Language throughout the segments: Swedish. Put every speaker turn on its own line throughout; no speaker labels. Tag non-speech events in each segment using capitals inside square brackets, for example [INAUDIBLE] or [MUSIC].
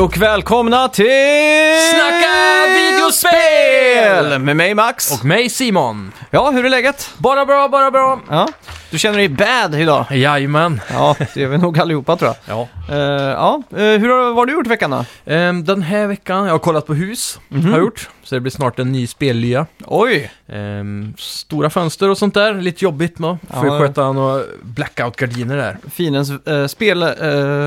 och välkomna till...
Snacka videospel!
Med mig Max.
Och mig Simon.
Ja, hur är läget?
Bara bra, bara bra.
Ja. Du känner dig bad idag?
Jajamän.
Ja, det gör vi nog allihopa tror jag.
Ja.
Eh, ja, Eh, hur har, vad har du gjort i veckan då? Mhm.
Ehm, den här veckan, jag har kollat på hus, har jag gjort. Så det blir snart en ny spellya.
Oj!
Ehm, stora fönster och sånt där, lite jobbigt med. Får
Ja.
jag sköta några blackout-gardiner där.
Finens eh, spel, eh,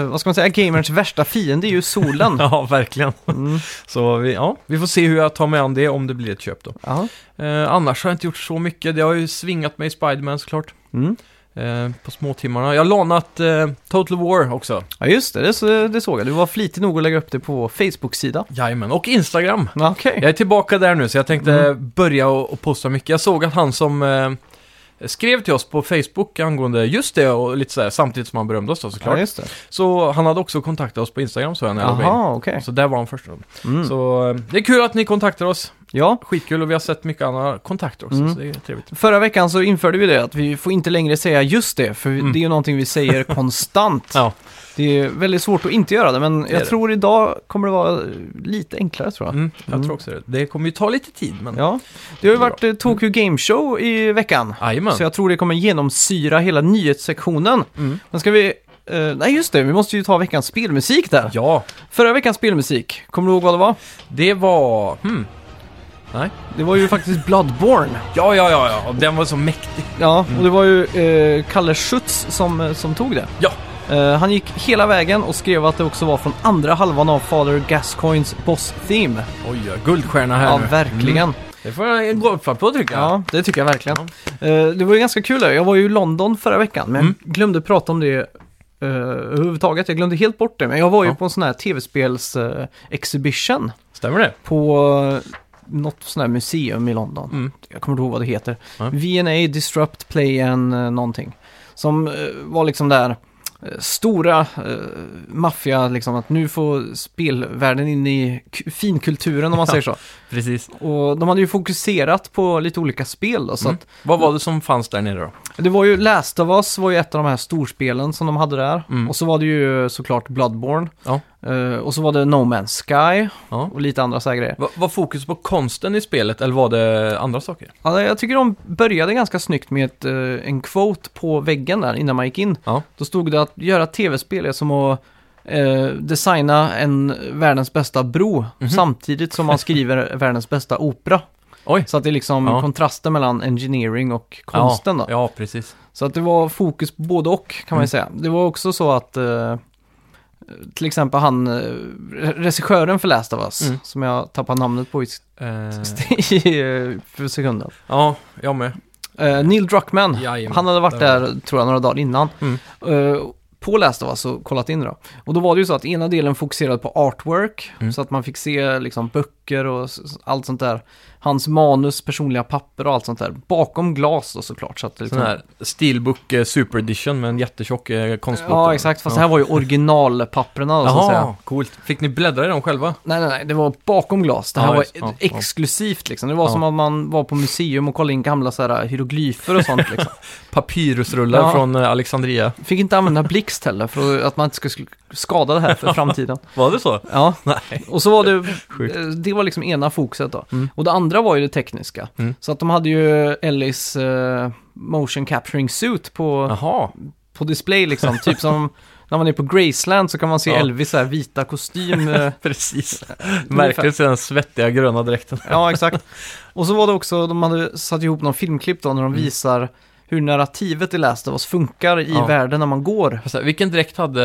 vad ska man säga, gamerns värsta fiende är ju solen.
[LAUGHS] Ja, verkligen.
Mm.
Så vi, ja, vi får se hur jag tar mig an det, om det blir ett köp då.
Ja.
Ehm, annars har jag inte gjort så mycket. Det har ju svingat mig i Spiderman såklart.
Mm.
Ehm, på småtimmarna. Jag har lånat eh, Total War också.
ja, just det, det, så- det såg jag. Du var flitig nog att lägga upp det på vår Facebook-sida.
Jajamän, och Instagram.
Ja, Okej.
Jag är tillbaka där nu, så jag tänkte börja och, och posta mycket. Jag såg att han som eh, skrev till oss på Facebook angående just det och lite sådär, samtidigt som han berömde oss då såklart.
Ja, just det.
Så han hade också kontaktat oss på Instagram, så jag när jag loggade in.
Jaha, okej.
Så där var han först. då.
Mm.
Så eh, det är kul att ni kontaktar oss.
Ja.
Skitkul och vi har sett mycket andra kontakter också,
Mm.
så det är trevligt.
Förra veckan så införde vi det att vi får inte längre säga just det, för
Mm.
det är ju någonting
[LAUGHS]
vi säger konstant.
Ja.
Det är väldigt svårt att inte göra det, men
är
jag
det.
tror idag kommer det vara eh, lite enklare tror jag.
Mm, jag
Mm.
tror också det. Det kommer ju ta lite tid, men...
Ja. Det har ju varit eh, Tokyo Game Show i veckan,
Jajamän.
så jag tror det kommer genomsyra hela nyhetssektionen.
Mm.
Men ska vi... eh, nej, just det, vi måste ju ta veckans spelmusik där.
Ja,
Förra veckans spelmusik, kommer du ihåg vad det var?
det var... Hmm. Nej.
Det var ju faktiskt Bloodborne. Mm.
Ja, ja, ja, ja. Den var så mäktig.
Ja, och det var ju eh, Kalle Schütz som, eh, som tog det.
Ja.
Eh, han gick hela vägen och skrev att det också var från andra halvan av Father Gascoins Boss-theme.
Oj, ja, guldstjärna här
Mm. Ja,
nu.
verkligen.
Det får jag en golfklapp på tycker jag.
Ja, det tycker jag verkligen. Eh, det var ju ganska kul. där. Jag var ju i London förra veckan, men
Mm.
jag glömde prata om det eh, överhuvudtaget. Jag glömde helt bort det, men jag var ju
Ja.
på en sån här eh, tv-spels-exhibition
Stämmer det?
på eh, något sån här museum i London.
Mm.
Jag kommer inte ihåg vad det heter.
Ja.
V&A Disrupt Play and eh, någonting. Som eh, var liksom där eh, stora eh, maffia, liksom att nu får spelvärlden in i k- finkulturen
[LAUGHS]
om man säger så.
Precis.
Och de hade ju fokuserat på lite olika spel då, så
Mm. Vad var det som fanns där nere då?
att det var ju Last of Us var ju ett av de här storspelen som de hade där.
Mm.
Och så var det ju såklart Bloodborne.
Ja.
Eh, och så var det No Man's Sky
Ja.
och lite andra så här grejer.
Va- var fokus på konsten i spelet eller var det andra saker?
Ja, jag tycker de började ganska snyggt med ett, eh, en quote på väggen där innan man gick in.
Ja.
Då stod det att göra tv-spel är som att eh, designa en världens bästa bro
Mhm.
samtidigt som
[LAUGHS]
man skriver världens bästa opera.
Oj.
Så att det är liksom
Ja.
kontrasten mellan engineering och konsten
ja.
då.
ja, precis.
Så att det var fokus på både och kan man
Mm.
ju säga. Det var också så att eh, till exempel han, eh, re- regissören för Last of Us,
Mm.
som jag tappar namnet på i,
Eh,
[LAUGHS] i, eh, för sekunden.
ja, jag med.
Eh, Neil Druckmann,
Jajamän.
han hade varit
Där
där tror jag några dagar innan.
Mm.
Eh, på Last of Us och kollat in det då. Och då var det ju så att ena delen fokuserade på artwork,
Mm.
så att man fick se liksom böcker och s- s- allt sånt där. Hans manus, personliga papper och allt sånt där. Bakom glas då såklart. Så att det liksom...
Sån här Steelbook eh, Super Edition med en jättetjock eh, konstbok.
Ja, exakt. Fast det här var ju originalpapperna då, så att säga.
Jaha, coolt. Fick ni bläddra i dem själva?
Nej, nej, nej. Det var bakom glas. Det här
Ja,
var
just- ja, ja.
exklusivt liksom. Det var
Ja.
som att man var på museum och kollade in gamla så här hieroglyfer
[LAUGHS]
och sånt liksom.
Papyrusrullar
Ja.
från eh, Alexandria.
Fick inte använda blixt heller för att man inte skulle skada det här
[LAUGHS]
för framtiden.
Var det så?
Ja,
[LAUGHS] Nej.
och så var det,
Sjukt.
eh, det var liksom ena fokuset då.
Mm.
Och det andra var ju det tekniska.
Mm.
Så att de hade ju Ellis eh, motion capturing suit på,
Jaha.
på display liksom.
[LAUGHS]
Typ som när man är på Graceland så kan man se
Ja.
Elvis så här vita kostym. eh,
[LAUGHS] Precis.
ungefär.
Märkligt den svettiga gröna dräkten.
Ja, exakt. Och så var det också, de hade satt ihop någon filmklipp då när de
Mm.
visar hur narrativet i Last of Us funkar i
Ja.
världen när man går.
Alltså, vilken dräkt hade,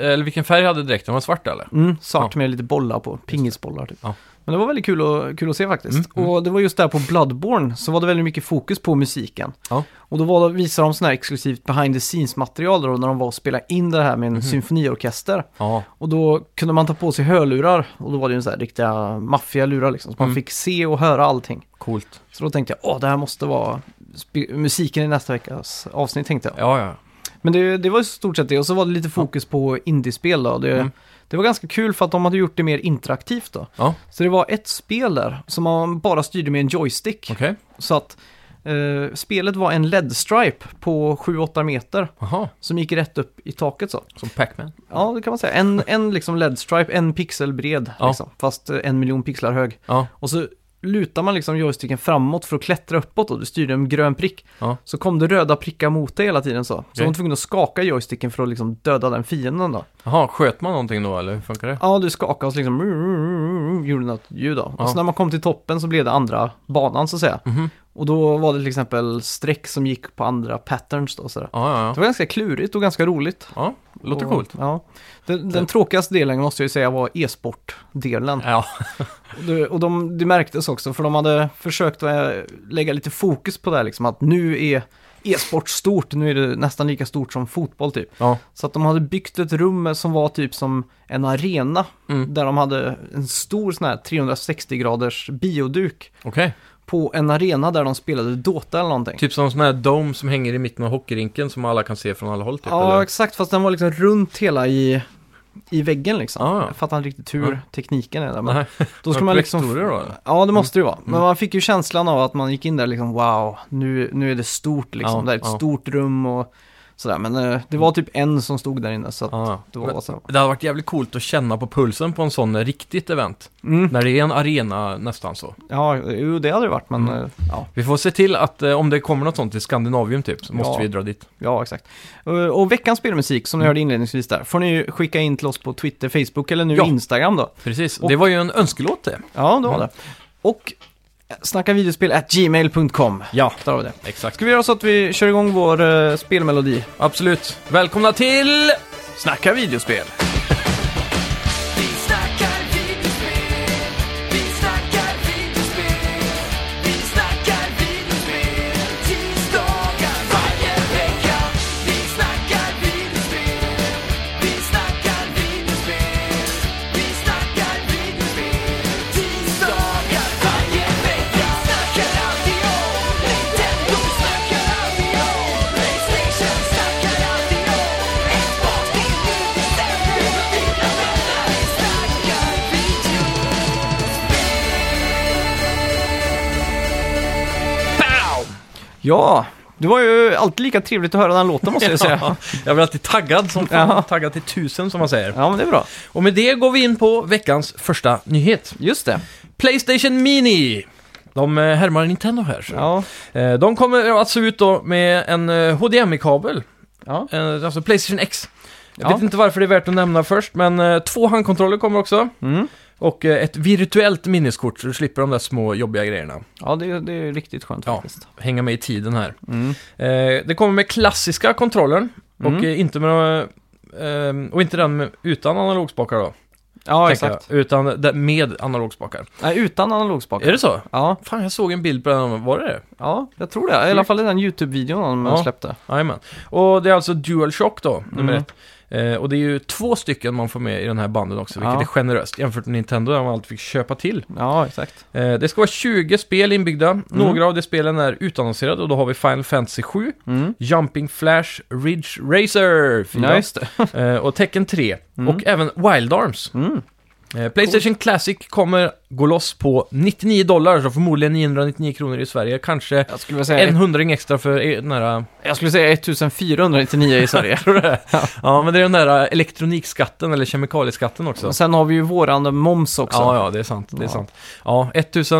eller vilken färg hade dräkten? Var den svart eller?
Mm, svart med lite bollar på, pingisbollar typ.
Ja. Mm,
Men det var väldigt kul, och, kul att se faktiskt. Och det var just där på Bloodborne så var det väldigt mycket fokus på musiken.
Ja.
Och då var, visade de sådana här exklusivt behind the scenes-material då när de var och spelade in det här med en
Mhm.
symfoniorkester.
Ja,
Och då kunde man ta på sig hörlurar och då var det ju en sån här riktiga maffialurar liksom. Så man
Mm.
fick se och höra allting.
coolt.
Så då tänkte jag, åh det här måste vara spe- musiken i nästa veckas avsnitt tänkte jag.
Ja, ja.
Men det, det var i stort sett det. Och så var det lite fokus på indiespel då. Det,
Mm.
det var ganska kul för att de hade gjort det mer interaktivt då.
Ja, Mm.
Så det var ett spel där som man bara styrde med en joystick.
okej.
Så att eh, eh, spelet var en LED-stripe på 7-8 meter
Jaha,
som gick rätt upp i taket så.
som Pac-Man.
Ja, det kan man säga. En, en liksom LED-stripe, en pixel bred,
Ja.
liksom, fast eh, en miljon pixlar hög.
Ja,
Och så lutar man liksom joysticken framåt för att klättra uppåt och du styrde en grön prick.
Ja.
Så kom det röda prickar mot dig hela tiden så. Så
Okej.
var man tvungen att skaka joysticken för att liksom döda den fienden då.
jaha, sköt man någonting då eller hur funkar det?
Ja, du skakade och så liksom gjorde något ljud då.
Ja.
Och så när man kom till toppen så blev det andra banan så att säga.
Mhm.
Och då var det till exempel streck som gick på andra patterns då sådär.
Ja, ja,
Det
ja.
var ganska klurigt och ganska roligt.
ja låter
och,
coolt.
Ja. Den, den
Det-
tråkigaste delen måste jag ju säga var e-sport-delen.
Ja,
Och, det, och de, det märktes också för de hade försökt eh, lägga lite fokus på det här liksom att nu är e-sport stort, nu är det nästan lika stort som fotboll typ.
ja.
Så att de hade byggt ett rum som var typ som en arena
Mm.
där de hade en stor sån här 360 graders bioduk
okej.
på en arena där de spelade Dota eller någonting.
Typ som sån här dome som hänger i mitten av hockeyrinken som alla kan se från alla håll typ.
ja,
eller?
exakt, fast den var liksom runt hela i, i väggen liksom.
Ja, ja.
Jag fattar inte riktigt hur
Mm.
tekniken är där. Men
Nej.
då ska
Var [LAUGHS]
man
det
liksom...
projektorer då, eller?
Ja, det måste det ju vara.
Mm.
Men man fick ju känslan av att man gick in där liksom, wow, nu, nu är det stort liksom.
Ja,
det är ett
ja.
stort rum och sådär. Men eh, det var typ en som stod där inne så att
Ja,
det
ja.
var så.
Ah. Det hade varit jävligt coolt att känna på pulsen på en sån riktigt event.
Mm.
När det är en arena nästan så.
Ja, jo, det hade det varit, men
Mm.
eh, ja.
Vi får se till att eh, om det kommer något sånt till Skandinavium typ så måste
Ja.
vi dra dit.
Ja, exakt. Eh, Och veckans spelmusik, som ni
Mm.
hörde inledningsvis där, får ni ju skicka in till oss på Twitter, Facebook eller nu
Ja.
Instagram då.
Precis,
Och-
det var ju en önskelåt det.
Ja, det var
Mm.
det. Och eh, snacka videospel at gmail.com.
Ja,
Där har vi det.
exakt.
Ska vi göra så att vi kör igång vår eh, spelmelodi?
Absolut. Välkomna till...
Snacka videospel!
Vi snackar videospel, vi snackar videospel, vi snackar videospel tisdagar varje vecka. Vi snackar videospel, vi snackar videospel, vi snackar videospel tisdagar varje vecka. Vi snackar alltid om Nintendo, vi snackar alltid om Playstation, vi snackar alltid om Xbox, det är nu vi sänder med mina vänner. Vi snackar video.
Ja, det var ju alltid lika trevligt att höra den låten måste [LAUGHS] jag säga.
Jag blir alltid taggad som fan.
Ja.
Taggad till tusen som man säger.
Ja, men det är bra.
Och med det går vi in på veckans första nyhet.
Just det.
Playstation Mini! De eh, härmar Nintendo här. Så.
Ja.
Eh, De kommer att se ut då med en eh, HDMI-kabel,
Ja.
eh, alltså Playstation X. Jag
Ja.
vet inte varför det är värt att nämna först, men eh, två handkontroller kommer också.
Mm.
Och eh, ett virtuellt minneskort, så du slipper de där små jobbiga grejerna.
Ja, det, det är riktigt skönt
Ja.
faktiskt.
Hänga med i tiden här.
Mm.
Eh, Det kommer med klassiska kontrollen, och,
Mm.
eh, inte med, eh, och inte den med, utan analogspakar då.
Ja,
tänker
exakt.
Jag, utan den med analogspakar.
Nej, utan analogspakar.
Är det så?
Ja,
Fan, jag såg en bild på den. Var det det?
ja, jag tror det. I alla fall i den YouTube-videon de
Ja.
släppte.
Jajamän. Och det är alltså DualShock då, nummer
Mm.
ett. Eh, och det är ju två stycken man får med i den här banden också, vilket
Ja.
är generöst jämfört med Nintendo där man alltid fick köpa till.
Ja, exakt.
Eh, det ska vara 20 spel inbyggda.
Mm.
Några av de spelen är utannonserade och då har vi Final Fantasy 7,
Mm.
Jumping Flash, Ridge Racer 4
Ja, just det.
eh, och Tekken 3 och även Wild Arms.
Mm.
Eh, Playstation Classic kommer gå loss på 99 dollar, så förmodligen 999 kronor i Sverige. Kanske
Jag skulle vilja säga,
en hundring extra för eh, den här
jag skulle säga 1499 i [LAUGHS] Sverige.
Tror du det? Ja, men det är den där äh, elektronikskatten eller kemikalieskatten också.
Och sen har vi ju våran eh, moms också.
Ja, ja, det är sant. Det är
Ja.
sant. Ja,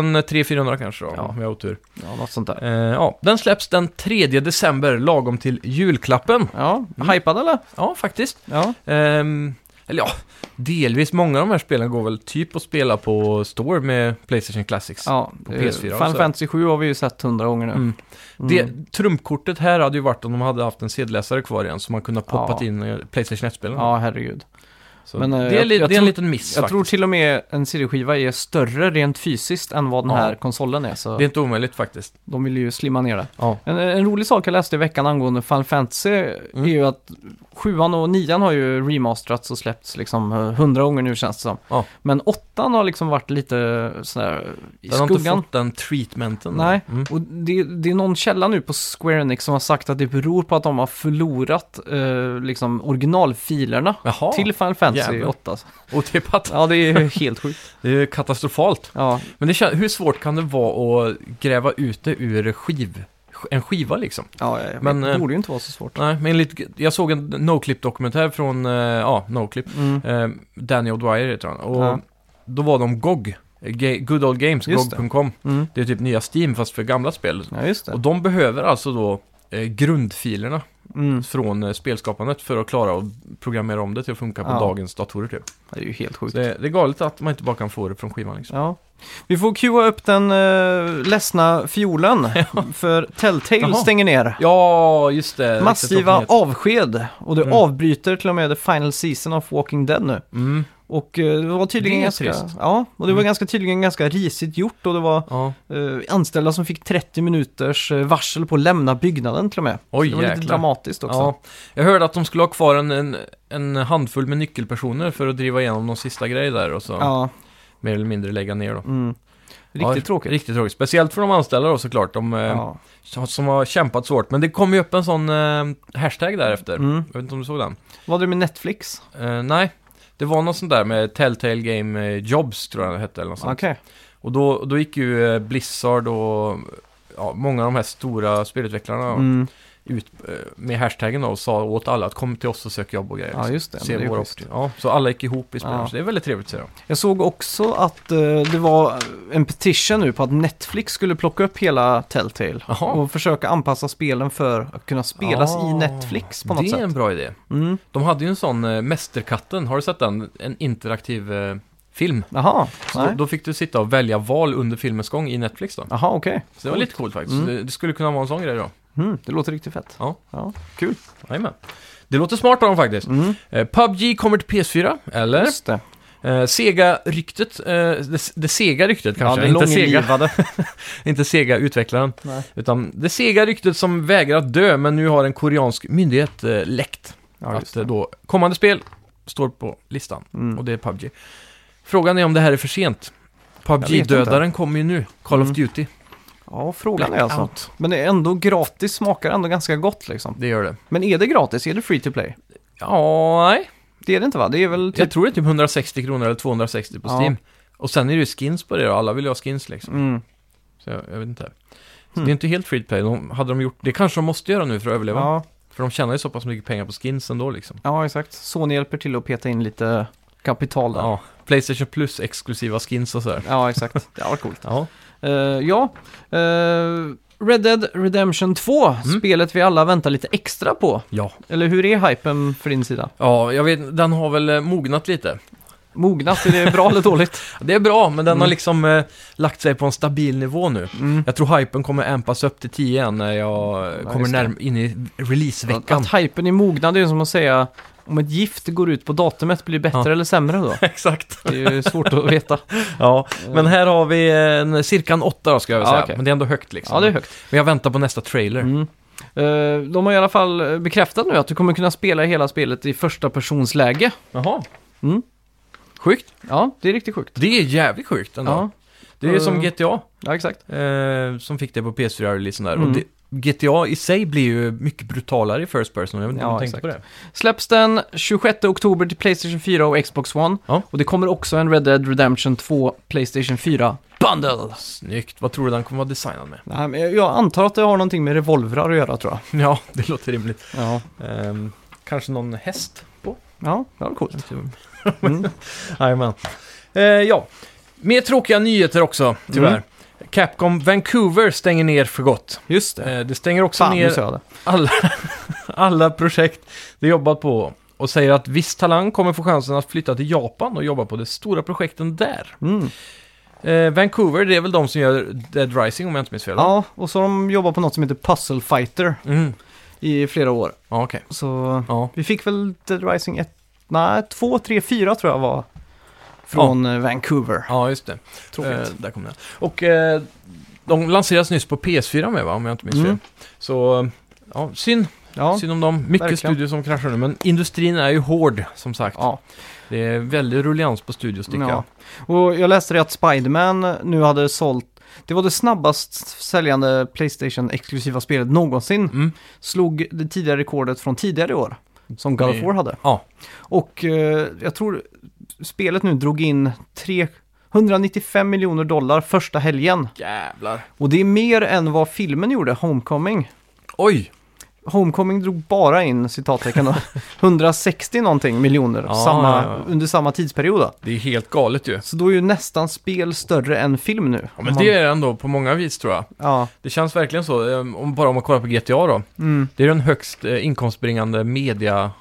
1300-400 kanske då,
Ja.
om jag har otur.
Ja, något sånt där.
Eh, ja, den släpps den 3 december, lagom till julklappen.
Ja, hypad eller?
Ja, faktiskt.
Ja.
Ehm, eller ja, delvis. Många av de här spelen går väl typ att spela på Store med Playstation Classics.
ja. eh,
På PS4
Final
också.
Fantasy 7 har vi ju sett hundra gånger nu.
Mm. Det, trumpkortet här hade ju varit om de hade haft en sedeläsare kvar igen, så man kunde ha poppat
Ja.
in eh, Playstation 1-spelen.
Ja, herregud.
Så
men, eh,
det är,
jag-
li-
jag
det är en
tror-
liten miss
Jag
faktiskt.
tror till och med en CD-skiva är större rent fysiskt än vad den
Ja.
här konsolen är, så
Det är inte omöjligt faktiskt.
de vill ju slimma ner det.
Ja.
En, en rolig sak jag läste i veckan angående Final Fantasy
Mm.
är ju att sjuan och nian har ju remasterats och släppts liksom eh, hundra gånger nu känns det som.
Ja.
Men åttan har liksom varit lite sådär i
Den har inte
skuggan.
fått den treatmenten.
Nej,
Mm.
och det, det är någon källa nu på Square Enix som har sagt att det beror på att de har förlorat eh, liksom originalfilerna
Jaha, [LAUGHS]
till Final Fantasy
jävlar.
8.
otippat.
Ja, det är
[LAUGHS]
ju helt sjukt.
Det är ju katastrofalt.
Ja,
Men det kän- hur svårt kan det vara att gräva ut det ur skivminnet en skiva liksom.
Ja, jag vet.
Men,
det
eh,
borde ju inte vara så svårt.
Nej, men enligt, jag såg en Noclip-dokumentär från, eh, ja, Noclip.
Mm.
Eh, Danny O'Dwyer heter han. Och
Ja.
då var de GOG. Ga- Good Old Games,
Just det.
GOG.com.
Mm.
Det är typ nya Steam fast för gamla spel.
Ja, just
Och
det.
de behöver alltså då eh, grundfilerna
Mm.
från eh, spelskapandet för att klara att programmera om det till att funka på
Ja.
dagens datorer typ.
Det är ju helt sjukt.
Så det, det är galet att man inte bara kan få det från skivan liksom.
Ja. Vi får cuea upp den uh, ledsna fiolen,
[LAUGHS]
för Telltale
Jaha.
stänger ner.
Ja, just det.
Massiva
Riktigt tråkigt.
avsked och det
Mm.
avbryter till och med the final season of Walking Dead nu.
Mm.
Och eh, det var tydligen
Det är
ganska,
trist.
ja, och det var
Mm.
ganska tydligen ganska risigt gjort och det var
Ja.
eh, anställda som fick 30 minuters eh, varsel på att lämna byggnaden till och med.
Oj,
Så det var lite
jäklar.
dramatiskt också.
ja. Jag hörde att de skulle ha kvar en, en, en handfull med nyckelpersoner för att driva igenom någon sista grej där och så
Ja,
mer eller mindre lägga ner då.
mm. Riktigt
Ja,
tråkigt.
Riktigt tråkigt. Speciellt för de anställda då såklart. De, eh,
Ja.
som- Som har kämpat så hårt. Men det kom ju upp en sån eh, hashtag därefter.
Mm.
Jag vet inte om du såg den?
Vad är det med Netflix?
Eh, nej. Det var något sånt där med Telltale Game eh, Jobs tror jag det hette eller något sånt.
Okej.
Och då, då gick ju eh, Blizzard och ja, många av de här stora spelutvecklarna
Mm.
ut eh, med hashtaggen då och sa åt alla att kom till oss och sök jobb och grejer.
Ja, just det.
Se
Men det är
vår
schysst.
opti- ja, så alla gick ihop i spelbranschen.
Ja.
Så Det är väldigt trevligt ser jag.
Jag såg också att eh, det var en petition nu på att Netflix skulle plocka upp hela Telltale
Jaha.
och försöka anpassa spelen för att kunna spelas
Ah,
i Netflix på något
det är en
sätt.
bra idé.
Mm.
De hade ju en sån eh, Mästerkatten, har du sett den? En interaktiv eh, film.
Jaha,
Så då,
nej.
då fick du sitta och välja val under filmens gång i Netflix då.
Jaha, okej.
Så det var lite coolt faktiskt.
Mm.
Det, det skulle kunna vara en sån grej då.
Mm, det låter riktigt fett.
Ja.
ja. Kul.
Jajamän. Det låter smart av dem faktiskt.
Mm.
Eh, PubG kommer till PS4, eller?
Just det.
Eh, Sega-ryktet, eh, det, det Sega-ryktet kanske,
det
inte, Sega,
långlivade.
[LAUGHS] inte Sega-utvecklaren.
Nej.
Utan det Sega-ryktet som vägrar dö, men nu har en koreansk myndighet eh, läckt.
Ja,
att
just
eh,
det.
då kommande spel står på listan,
Mm.
och det är PubG. Frågan är om det här är för sent. PubG-dödaren kommer ju nu, Call of
Mm.
Duty.
Ja, frågan är alltså.
Blackout.
Men det är ändå gratis, smakar ändå ganska gott liksom.
Det gör det.
Men är det gratis? Är det free to play?
Ja, nej.
Det är det inte va? Det är väl
Jag
typ...
tror det är typ 160 kronor eller 260 på
Ja.
Steam. Och sen är det ju skins på det då, alla vill ju ha skins liksom.
Mm.
Så jag, jag vet inte. Så
Hmm.
Det är inte helt free to play. De, hade de gjort, det kanske de måste göra nu för att överleva.
Ja,
För de tjänar ju så pass mycket pengar på skins ändå liksom.
ja, exakt. Sony hjälper till att peta in lite kapital där.
Ja, Playstation Plus exklusiva skins och sådär.
Ja, exakt. [LAUGHS] Det var coolt.
Ja,
Eh, ja, Eh, Red Dead Redemption 2, spelet vi alla väntar lite extra på.
ja.
Eller hur är hypen för din sida?
ja jag vet, den har väl eh, mognat lite.
Mognat, är det bra eller [LAUGHS] dåligt?
Det är bra, men den
Mm.
har liksom eh, lagt sig på en stabil nivå nu. Jag tror hypen kommer ampas upp till 10 igen när jag eh,
Ja,
kommer
just det.
närm in i
Att, [LAUGHS]
releaseveckan.
att hypen är mognad det är ju som att säga om ett gift går ut på datumet, blir det bättre
Ja.
eller sämre [LAUGHS] då?
Exakt.
Det är ju svårt att veta.
Ja, men här har vi en, cirka en åtta då ska jag väl
Mm. Ja,
säga.
okej.
Men det är ändå högt liksom.
Ja, det är högt.
Men jag väntar på nästa trailer.
Mm. Eh, de har i alla fall bekräftat nu att du kommer kunna spela hela spelet i första personsläge.
Jaha.
Mm.
Sjukt.
Ja, det är riktigt sjukt.
Det är jävligt sjukt ändå.
Ja,
Det är ju som
Eh.
GTA,
ja exakt.
eh, som fick det på PS4-releasen där. Och
Mm.
det, GTA i sig blir ju mycket brutalare i First Person. Jag vet inte om du
Ja,
tänkte på det.
Släpps den 26 oktober till Playstation 4 och Xbox One.
Ja.
Och det kommer också en Red Dead Redemption 2 Playstation 4 Bundle.
Snyggt. Vad tror du den kommer vara designad med? [LAUGHS]
Nej, men jag- jag antar att det har någonting med revolvrar att göra tror jag.
Ja, det låter rimligt.
Ja,
Ehm, kanske någon häst på?
ja det var [LAUGHS] coolt. Mm.
Jajamän. Eh, ja, mer tråkiga nyheter också, tyvärr.
Mm.
Capcom Vancouver stänger ner för gott.
Just det.
Eh, det stänger också
Fan, nu
ner
sa jag det.
alla, [LAUGHS] alla projekt det jobbat på och säger att viss talang kommer få chansen att flytta till Japan och jobba på de stora projekten där.
Mm.
Eh, Vancouver, det är väl de som gör Dead Rising om jag inte minns fel? va?
Ja, och så har de jobbat på något som heter Puzzle Fighter
Mm.
i flera år.
Ja, okej.
Så
Ja.
vi fick väl Dead Rising 1, nej 2, 3, 4 tror jag var från eh, Vancouver.
ja, just det. Eh,
Tråkigt.
där kom den. Och eh, de lanseras nyss på PS4 med va, om jag inte minns
Mm.
fel. Så, eh, ja, synd.
Ja,
Synd om dem. Mycket
verkligen.
studier som kraschar nu, men industrin är ju hård, som sagt.
ja.
Det är väldigt ruljans på studios, tycker
ja.
jag.
Och jag läste det att Spiderman nu hade sålt, det var det snabbast säljande Playstation-exklusiva spelet någonsin.
Mm.
Slog det tidigare rekordet från tidigare år, som God of
Mm.
War hade.
Ja.
Och eh, jag tror spelet nu drog in tre 195 miljoner dollar första helgen.
Jävlar.
Och det är mer än vad filmen gjorde, Homecoming.
Oj!
Homecoming drog bara in, citattecken,
[LAUGHS]
då, 160 någonting miljoner
Ja,
samma,
ja, ja.
under samma tidsperiod. Då.
Det är helt galet ju.
Så då är ju nästan spel större än film nu.
Ja,
Om
men
man-
det är det ändå på många vis tror jag.
ja.
Det känns verkligen så, eh, om, bara om man kollar på GTA då.
Mm.
Det är den högst eh, inkomstbringande media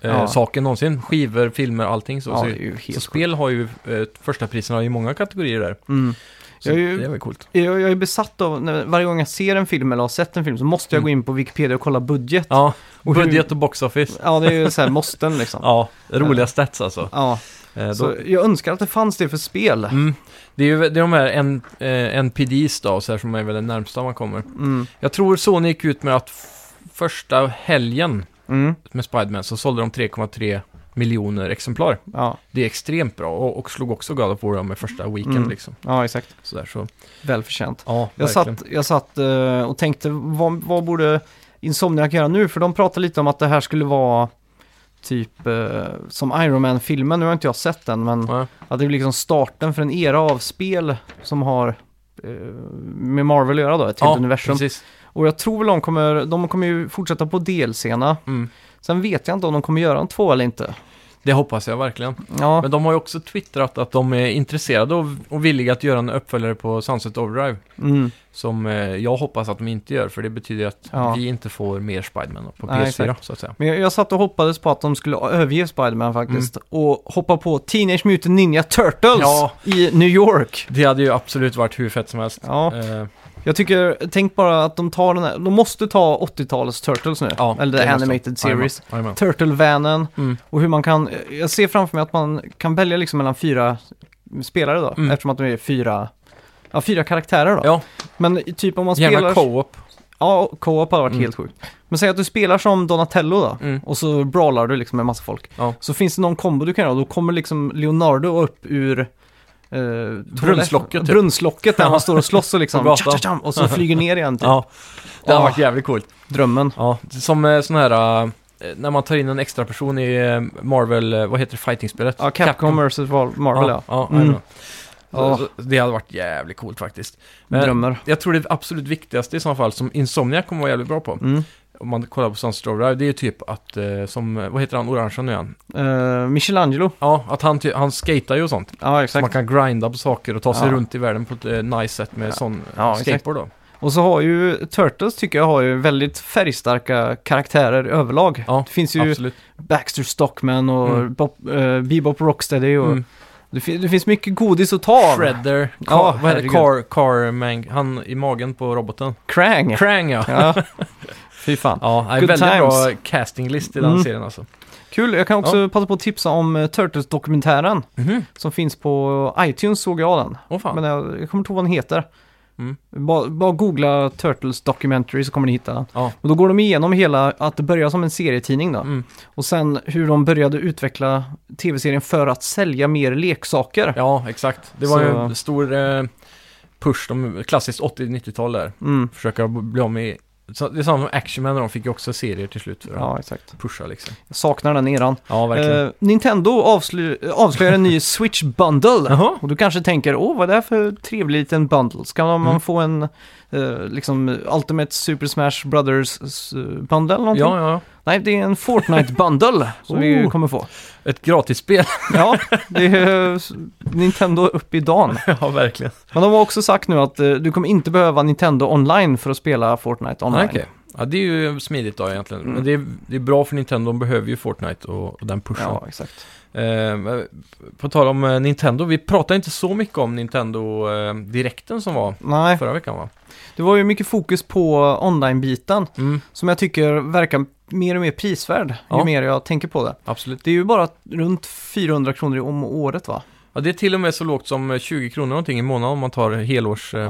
eh,
Ja.
saken någonsin. Skivor, filmer, allting så.
ja, det är
så,
ju
så
helt sjukt.
spel har ju eh, första priserna i många kategorier där.
Mm.
Så
Jag är ju-
det är väl coolt.
Jag, jag är besatt av, när, varje gång jag ser en film eller har sett en film så måste jag
Mm.
gå in på Wikipedia och kolla budget. Ja,
Ja,
och hur-
budget och box office.
det är ju så här måsten liksom. Ja.
Ja, roliga stats alltså. Eh, då,
Så jag önskar att det fanns det för spel.
mm, det är ju det är de här N, eh, NPDs då, så här, som är väl det närmsta man kommer.
Mm.
Jag tror Sony gick ut med att f- första helgen
Mm.
med Spiderman så sålde de 3,3 miljoner exemplar.
Ja.
Det är extremt bra och, och slog också God of War med första weekend
Mm.
liksom.
ja, exakt.
Sådär, så.
Välförtjänt.
Ja,
Jag satt, jag satt eh, och tänkte, vad, vad borde Insomniac göra nu? För de pratade lite om att det här skulle vara typ eh, som Iron Man-filmen. Nu har inte jag sett den, men
Ja.
att det är liksom starten för en era av spel som har eh, med Marvel att göra då, ett helt
ja,
universum.
precis.
Och jag tror väl de kommer, de kommer ju fortsätta på DLC-erna.
Mm.
Sen vet jag inte om de kommer göra en två eller inte.
Det hoppas jag verkligen.
Ja,
Men de har ju också twittrat att de är intresserade och, och villiga att göra en uppföljare på Sunset Overdrive.
mm.
Som eh, jag hoppas att de inte gör, för det betyder att
Ja.
vi inte får mer Spiderman på
Nej,
PS4, så att säga.
men jag, jag satt och hoppades på att de skulle överge Spiderman faktiskt. Och hoppa på Teenage Mutant Ninja Turtles
Mm. Ja.
i New York.
Det hade ju absolut varit hur fett som helst.
Ja,
Eh,
jag tycker, tänk bara att de tar den här, de måste ta 80-talets Turtles nu.
ja, det
eller the
måste de.
Animated Series.
Jajamän, jajamän.
Turtle-vanen
Mm.
och hur man kan, jag ser framför mig att man kan välja liksom mellan fyra spelare då.
Mm.
Eftersom att de är fyra, ja fyra karaktärer då.
Ja.
Men i- typ om man
Gärna
spelar...
co-op.
Ja, och co-op hade varit
Mm.
helt sjukt. Men säg att du spelar som Donatello då,
Mm.
och så brawlar du liksom med massa folk.
Ja.
Så finns det någon kombo du kan göra, och då kommer liksom Leonardo upp ur... Eh,
Brunnslocket, typ.
Brunnslocket där
Ja.
han står och slåss
[LAUGHS]
och liksom...
På gatan.
tja-tja-tjam, och så flyger ner igen, typ.
Ja, det hade
Ah.
varit jävligt coolt.
Drömmen.
Ja, som eh, sån här, eh, när man tar in en extra person i eh, Marvel, eh, vad heter det, fighting-spelet?
Ja, Capcom vs. Marvel ja.
ja.
Mm.
jajamän.
Ja.
Så- så Det hade varit jävligt coolt faktiskt. Men-
Drömmer.
Jag tror det absolut viktigaste i så fall som Insomnia kommer vara jävligt bra på,
Mm.
om man kollar på Sunset Overdrive, det är ju typ att, eh, som, eh, vad heter han, orangea nu igen?
Eh, Michelangelo.
Ja, att han, ty- han skatar ju och sånt.
Ja,
Så man
exakt.
kan grinda på saker och ta sig
Ja.
runt i världen på ett eh, nice sätt med sån
Ja,
ja,
exakt.
skateboard då.
Och så har ju Turtles, tycker jag, har ju väldigt färgstarka karaktärer överlag.
Ja,
det finns ju
Absolut.
Baxter Stockman och
Mm.
Bop, eh, Bebop Rocksteady och...
Mm.
Det, fin- det finns mycket godis att ta av.
Shredder, car,
Ja,
vad heter
herregud.
car, car man, han i magen på roboten.
Krang.
Krang ja.
Ja. Fy fan.
[LAUGHS] Ja, nej,
Good
väldigt
times.
bra castinglist i den
Mm.
serien alltså.
Kul, jag kan också passa på att tipsa om eh, Turtles-dokumentären
Mhm.
som finns på iTunes såg jag den.
Åh fan.
Men jag, jag kommer inte ihåg vad den heter.
Mm.
Bara, bara googla Turtles Documentary så kommer ni hitta den.
Ja.
Och då går de igenom hela, att det börjar som en serietidning då.
Mm.
Och sen hur de började utveckla tv-serien för att sälja mer leksaker.
Ja, exakt. Det var ju
Så-
en stor eh, push, de, klassiskt 80-90-tal där.
Mm.
Försöka bli av med... så- Det är samma som Action Man, de fick ju också serier till slut för att
Ja, exakt.
pusha liksom.
Jag saknar den eran.
Ja, verkligen.
Eh, Nintendo avslö- avslöjar
[LAUGHS]
en ny Switch Bundle.
Jaha.
Och du kanske tänker, åh vad är det här för trevlig liten bundle? Ska man
Mm.
få en eh, liksom Ultimate Super Smash Brothers eh, bundle eller någonting?
Ja, ja, ja.
Nej, det är en Fortnite bundle som
[LAUGHS]
vi
Oh.
kommer få.
Ett gratisspel. [LAUGHS]
Ja, det är eh, s- Nintendo upp i dagen.
ja, verkligen.
Men de har också sagt nu att eh, du kommer inte behöva Nintendo online för att spela Fortnite online.
Nej, Ah, okej. Ja, det är ju smidigt då egentligen.
Mm.
Men det är, det är bra för Nintendo, de behöver ju Fortnite och, och den pushen.
Ja, exakt.
Eh, men på tal om eh, Nintendo, vi pratade inte så mycket om Nintendo-direkten som var
Nej,
förra veckan va?
det var ju mycket fokus på online-biten.
Mm,
Som jag tycker verkar mer och mer prisvärd ju
Ja.
mer jag tänker på det.
absolut.
Det är ju bara runt 400 kronor om året va?
Ja, det är till och med så lågt som eh, 20 kronor någonting i månaden om man tar eh, helårsgrejen.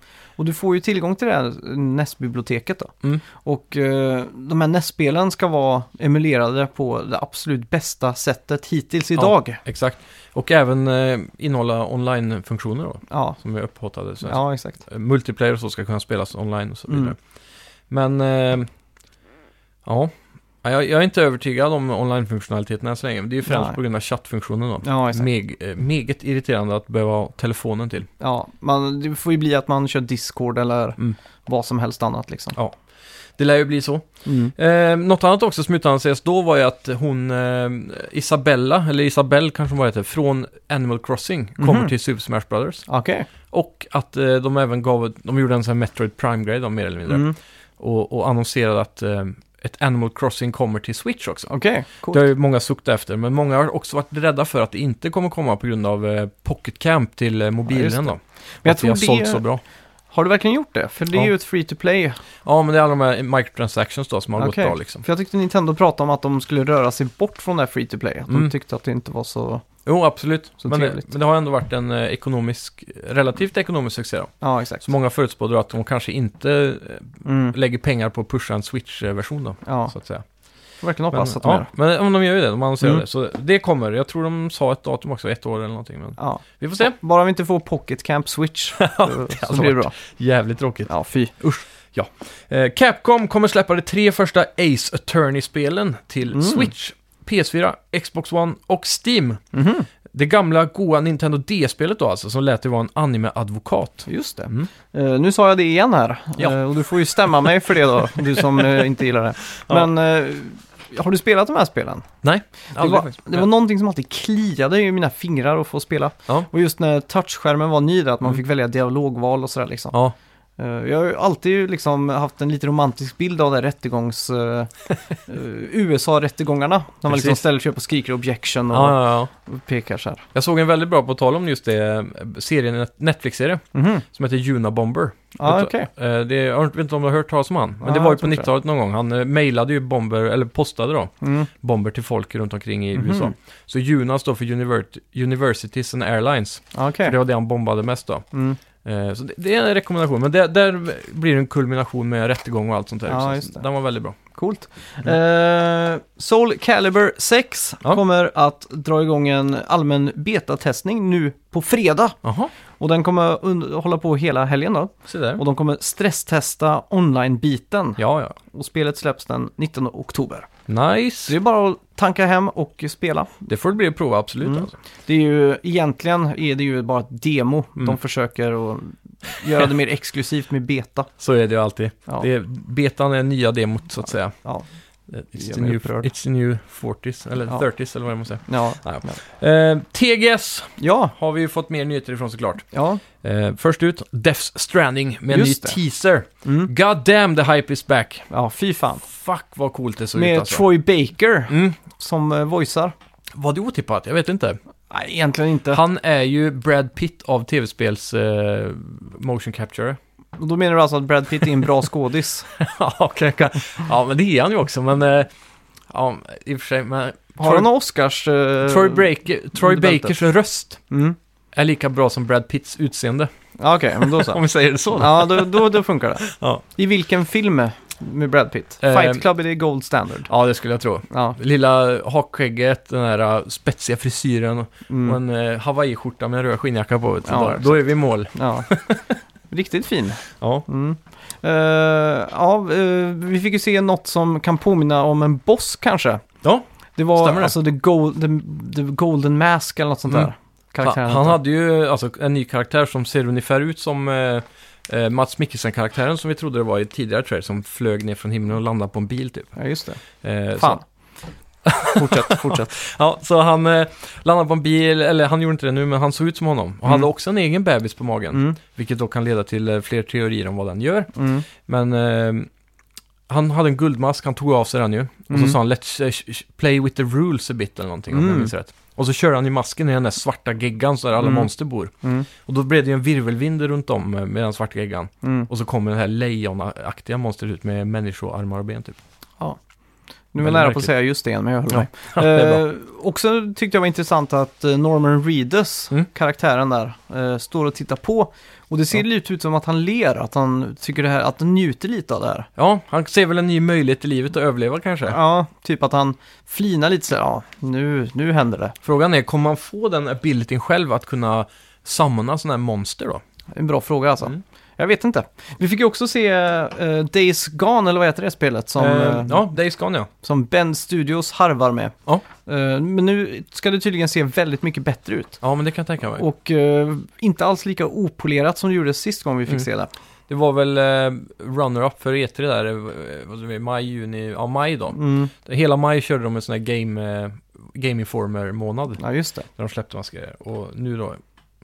Ja. Och du får ju tillgång till det här NES-biblioteket då.
Mm.
Och eh, de här NES-spelen ska vara emulerade på det absolut bästa sättet hittills idag.
Exakt. Och även eh, innehålla online-funktioner då,
Ja,
som är upphottade. Så
ja Mm. exakt.
eh, Multiplayer och så ska kunna spelas online och så vidare.
Mm.
Men, eh, ja. Nej, Ja, jag, jag är inte övertygad om online-funktionaliteten än så länge. men Det är ju främst
Nej.
på grund av chattfunktionen då.
Ja, exakt.
Meg, eh, meget irriterande att behöva ha telefonen till.
Ja, man, det får ju bli att man kör Discord eller
Mm.
vad som helst annat liksom.
Det lär ju bli så.
Mm.
Eh, något annat också som utannonserades då var ju att hon, eh, Isabella, eller Isabelle kanske hon var heter, från Animal Crossing kommer
Mhm.
till Super Smash Brothers.
Okej.
Och att eh, de även gav, de gjorde en sån här Metroid Prime-grej då, mer eller mindre.
Mm.
Och, och annonserade att eh, ett Animal Crossing kommer till Switch också.
Okej,
Det
coolt.
har ju många suktat efter, men många har också varit rädda för att det inte kommer komma på grund av eh, Pocket Camp till eh, mobilen
just det.
då.
Men jag
att det har
tror det-
sålt så bra.
Har du verkligen gjort det? För det är
Ja.
ju ett free to play.
Ja, men det är alla de här microtransactions då som har
Okej.
gått bra liksom.
För jag tyckte Nintendo pratade om att de skulle röra sig bort från det här free to play. Att de
Mm.
tyckte att det inte var så...
Jo, absolut.
Så
Men det,
trevligt.
men det har ändå varit en eh, ekonomisk, relativt ekonomisk succé då.
Ja, exakt.
Så många förutspådde då att de kanske inte eh,
Mm.
lägger pengar på att pusha en Switch-version då,
Ja,
så att säga.
får verkligen
Men,
hoppas att de
ja,
gör.
men om de gör ju det, de annonserar
Mm.
det. Så det kommer. Jag tror de sa ett datum också, ett år eller någonting. Men
Ja.
vi får se.
Bara vi inte får Pocket
[LAUGHS]
Camp Switch så, så
hade
blir det bra.
Jävligt tråkigt.
Ja, fy.
Eh, Capcom kommer släppa de tre första Ace Attorney-spelen till
Mm.
Switch, PS4, Xbox One och Steam.
Mhm.
Det gamla goa Nintendo DS-spelet då alltså, som lät det vara en anime-advokat.
Just det.
Mm.
Eh, nu sa jag det igen här.
Ja.
Eh, och du får ju stämma mig för det då, du som eh, inte gillar det.
[LAUGHS] Ja.
Men eh, har du spelat de här spelen? Det
Aldrig
var,
faktiskt.
det var någonting som alltid kliade i mina fingrar att få spela.
Ja.
Och just när touchskärmen var ny, där, att man
Mm.
fick välja dialogval och sådär liksom.
Ja,
Eh, Jag har ju alltid liksom haft en lite romantisk bild av det här
[LAUGHS]
rättegångs... eh, eh, USA-rättegångarna. När man liksom
Precis.
ställer sig upp och skriker objection och
ja, ja, ja.
pekar så här.
Jag såg en väldigt bra, på tal om just det, eh, serien, Netflix-serie,
Mhm.
som heter Juna Bomber.
Ja,
Vet-
okej.
Eh, Det, jag vet inte om du har hört talas om han, men
Ja,
det var ju
jag
på
tror inte
90-talet någon gång. Han eh, mejlade ju bomber, eller postade då,
Mm.
bomber till folk runt omkring i
Mhm.
USA. Så Juna står för Univert- Universities and Airlines.
Ja, Okej.
Det var det han bombade mest då.
Mm.
Eh, Så det, det är en rekommendation, men där, där blir det en kulmination med rättegång och allt sånt där.
Ja,
också.
just det.
Den var väldigt bra.
Coolt. Eh, Soul Calibur 6
Mm. Ja.
kommer att dra igång en allmän betatestning nu på fredag.
Jaha,
Och den kommer att und- hålla på hela helgen då.
se där.
Och de kommer stresstesta online-biten.
Ja, ja.
Och spelet släpps den 19 oktober. Så det
Nice.
är bara att tanka hem och spela.
Det får det bli att prova, absolut.
Mm.
Alltså.
Det är ju, egentligen är det ju bara ett demo.
Mm.
De försöker att göra det mer exklusivt med beta.
Så är det ju alltid.
Ja,
Det är, betan är nya demot, så att säga.
ja,
Eh, It's
gör
the,
mig
new,
upprörd.
it's the new 40s, eller
Ja.
30s, eller vad man säger.
ja,
Eh, TGS
ja,
har vi ju fått mer nyheter ifrån såklart.
ja.
Eh, först ut, Death's Stranding med en ny
Just det.
teaser.
Mm.
God damn, the hype is back.
ja fy fan.
Fuck vad coolt det såg ut
Med
alltså.
Troy Baker
Mm.
som eh, voicear.
Var det otippat? Jag vet inte.
Nej, egentligen inte.
Han är ju Brad Pitt av tv-spels eh, motion capture. [LAUGHS]
Och Då menar du alltså att Brad Pitt är en bra skådis?
ja, okej, okej. ja, men det är han ju också, men... Eh, ja, i och för sig, men...
Har han några Oscars... eh,
Troy, Baker, Troy
under bältet.
Bakers röst
Mm.
är lika bra som Brad Pitts utseende.
Ja, Okej, men då så.
Om vi säger det så. då.
ja, då, då, då funkar det.
[LAUGHS] Ja.
I vilken film med Brad Pitt?
Eh,
Fight Club är det gold standard.
ja, det skulle jag tro.
Ja,
Lilla hakskägget, den här eh, spetsiga frisyren och
mm,
en eh, hawaiiskjorta med en röd skinnjacka på. Så
Ja,
där.
exakt.
Då är vi i mål. [LAUGHS]
ja. Riktigt fin.
Ja.
Mm. Eh, ja, eh, vi fick ju se något som kan påminna om en boss kanske.
Ja,
Det var
stämmer det.
alltså the, gold, the, the Golden Mask eller något sånt
Mm.
där.
Han,
Karaktären
han
hette.
hade ju alltså, en ny karaktär som ser ungefär ut som eh, eh, Mats Mikkelsen-karaktären som vi trodde det var i tidigare trailer, som flög ner från himlen och landade på en bil typ.
Ja, just det.
Eh,
Fan.
[LAUGHS] Så,
fortsätt, [LAUGHS] fortsätt.
ja, så han eh, landade på en bil, eller han gjorde inte det nu, men han såg ut som honom. Och
Mm.
hade också en egen bebis på magen,
Mm,
vilket då kan leda till eh, fler teorier om vad den gör.
mm,
Men eh, han hade en guldmask, han tog av sig den ju. Och
Mm.
så sa han “Let's eh, sh- sh- play with the rules a bit” eller någonting, om
Mm.
jag minns rätt. Och så körde han ju masken i den där svarta geggan så där alla
Mm.
monster bor.
mm,
Och då blev det ju en virvelvind runt om eh, med den svarta geggan.
mm.
Och så kommer det här lejonaktiga monstret ut med människoarmar och ben typ.
Nu var
Väldigt
jag nära på att
märkligt.
säga just det igen, men jag
[LAUGHS]
höll
Ja.
mig.
det är
Eh, också tyckte jag var intressant att eh, Norman Reedus,
Mm.
karaktären där, eh, står och tittar på. Och det ser
Ja.
lite ut som att han ler, att han tycker det här, att han njuter lite av det här.
Ja, han ser väl en ny möjlighet i livet att överleva kanske.
Ja, typ att han flinar lite så här, ja, nu, nu händer det.
Frågan är, kommer man få den abilityn själv att kunna samla sådana här monster då?
En bra fråga alltså.
Mm.
Jag vet inte. Vi fick ju också se eh, Days Gone, eller vad heter det spelet, som,
Eh,
eh,
ja, Days Gone ja.
som Ben Studios harvar med.
Ja.
Eh, men nu ska det tydligen se väldigt mycket bättre ut.
Ja, men det kan jag tänka mig.
Och eh, inte alls lika opolerat som det gjordes sist gång vi fick
Mm.
se det.
Det var väl eh, runner-up för E3 där, eh, vad säger vi, maj, juni, ja maj då.
Mm.
Hela maj körde de en sån här game, eh, game informer-månad.
Ja, just det.
Där de släppte massa grejer. Och nu då,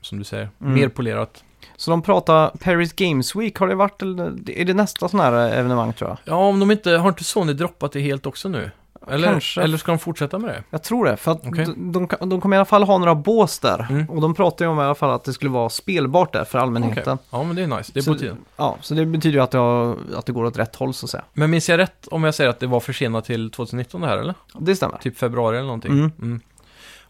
som du säger,
Mm.
mer polerat.
Så de pratar Paris Games Week, har det varit eller är det nästa sån här eh, evenemang tror jag?
Ja, om de inte, har inte Sony droppat det helt också nu? Eller,
Kanske.
eller ska de fortsätta med det?
Jag tror det, för att
Okej.
de, de, kan- de kommer i alla fall ha några bås där.
Mm.
Och de pratar ju om i alla fall att det skulle vara spelbart där för allmänheten.
Ja, men det är nice. Det är
Så-
på tiden.
Ja, så det betyder ju att det, har, att det går åt rätt håll så att säga.
Men minns jag rätt om jag säger att det var försenat till 2019 det här, eller?
Det stämmer.
Typ februari eller någonting?
Mm.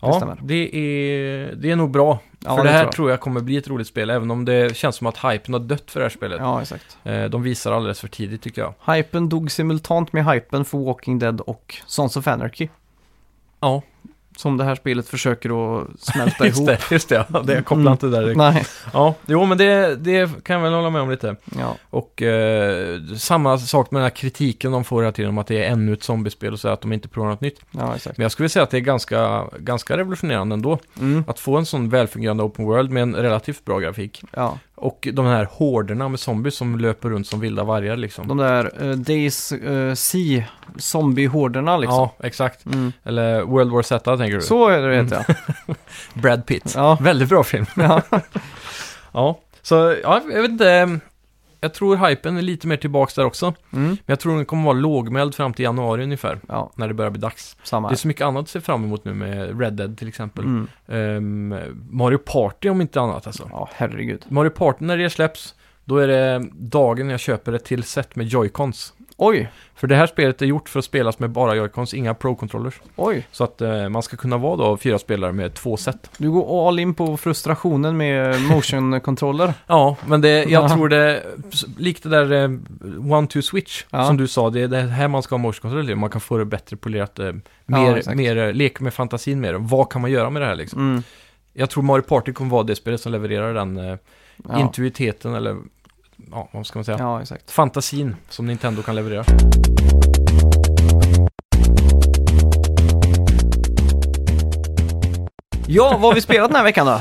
Ja,
stämmer.
det är, det är nog bra.
Ja,
för det, här
tror
tror jag kommer bli ett roligt spel, även om det känns som att hypen har dött för det här spelet.
jag. Ja, exakt.
Eh, De visar alldeles för tidigt tycker jag.
Hypen dog simultant med hypen för Walking Dead och Sons of Anarchy.
Ja,
Som det här spelet försöker att
[LAUGHS]
smälta
just
ihop.
det. Just det, ja. det jag kopplar
Mm.
inte där direkt.
Nej,
Ja, jo men det, det kan jag väl hålla med om lite.
ja.
Och eh, samma sak med den här kritiken de får hela tiden om att det är ännu ett zombiespel och så att de inte provar något nytt.
ja exakt.
Men jag skulle vilja säga att det är ganska, ganska revolutionerande ändå.
Mm,
Att få en sån välfungerande open world med en relativt bra grafik.
ja.
Och de här horderna med zombies som löper runt som vilda vargar liksom.
De där eh, Days eh, Sea zombie-horderna liksom.
Ja, exakt.
Mm.
Eller World War Z tänker du?
Så är det, vet jag.
Brad Pitt.
[LAUGHS] Ja.
Väldigt bra film.
Ja.
Ja, så ja, jag vet inte. ehm, Jag tror hypen är lite mer tillbaks där också.
Mm.
Men jag tror den kommer vara lågmäld fram till januari ungefär.
Ja,
När det börjar bli dags.
samma.
Det är
här.
så mycket annat att se fram emot nu med Red Dead till exempel.
Mm.
Ehm, Mario Party om inte annat alltså.
Ja, herregud.
Mario Party när det släpps, då är det dagen jag köper ett till set med Joy-Cons.
Oj,
För det här spelet är gjort för att spelas med bara Joy-Cons, inga Pro-controllers.
oj.
Så att eh, man ska kunna vara då fyra spelare med två set.
Du går all in på frustrationen med [LAUGHS] motion-kontroller.
Ja, men det, jag
Ja.
tror det, likt det där eh, One-Two-Switch
Ja.
som du sa, det är det här man ska ha motion-kontroll till. Man kan få det bättre polerat, eh, mer,
exakt.
mer eh, lek med fantasin mer. Vad kan man göra med det här liksom?
Mm.
Jag tror Mario Party kommer vara det spelet som levererar den eh,
Ja.
intuiteten eller, ja, vad ska man säga?
ja, exakt.
Fantasin som Nintendo kan leverera.
Ja, vad har vi spelat den här veckan då?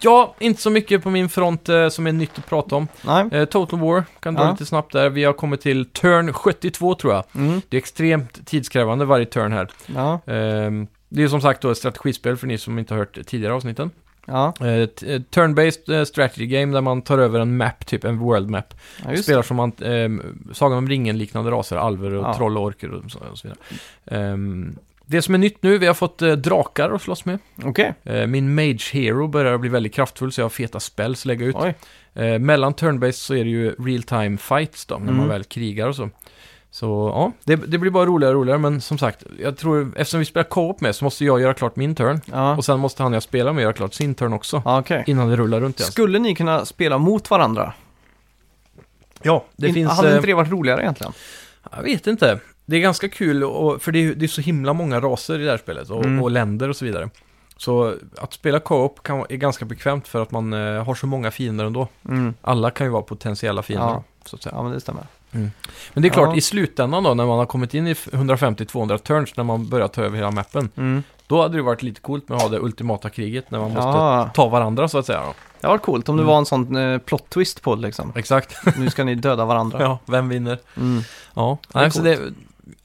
Ja, inte så mycket på min front eh, som är nytt att prata om.
Nej.
Eh, Total War, kan dra
Ja.
lite snabbt där. Vi har kommit till turn 72 tror jag.
Mm.
Det är extremt tidskrävande varje turn här.
Ja,
Ehm, det är som sagt då ett strategispel för ni som inte har hört tidigare avsnitten.
ja,
Eh, t- eh, turn-based eh, strategy game där man tar över en map, typ en world map.
ja just det.
Spelar som man, ehm, Sagan om ringen-liknande raser, alver och
Ja.
troll och orker och så, och så vidare. Ehm, det som är nytt nu, vi har fått eh, drakar att slåss med.
Okej,
Eh, min Mage Hero börjar bli väldigt kraftfull så jag har feta spells att lägga ut.
oj.
Eh, mellan turn-based så är det ju real-time fights då, när man
Mm.
väl krigar och så. Så ja, det, det blir bara roligare och roligare, men som sagt, jag tror, eftersom vi spelar co-op med så måste jag göra klart min turn.
Ja,
Och sen måste han jag spelar med göra klart sin turn också.
ja okej.
Innan det rullar runt igen.
Skulle ni kunna spela mot varandra?
Ja, det
In-
finns...
Hade
eh,
inte det varit roligare egentligen?
Jag vet inte. Det är ganska kul, och, för det är, det är så himla många raser i det här spelet och,
Mm.
och länder och så vidare. Så att spela co-op kan, vara- är ganska bekvämt för att man eh, har så många fiender ändå.
Mm.
Alla kan ju vara potentiella fiender.
Ja.
Så att säga.
Ja, men det stämmer.
Men det är klart,
Ja.
i slutändan då, när man har kommit in i 150-200 turns, när man börjar ta över hela mappen,
Mm.
då hade det varit lite coolt med att ha det ultimata kriget, när man måste
Ja,
ta varandra så att säga. Då.
det var coolt om det
Mm.
var en sån eh, plot twist på det liksom.
Exakt,
Nu ska ni döda varandra.
[LAUGHS] ja, vem vinner?
Mm.
Ja,
är
Nej, så det,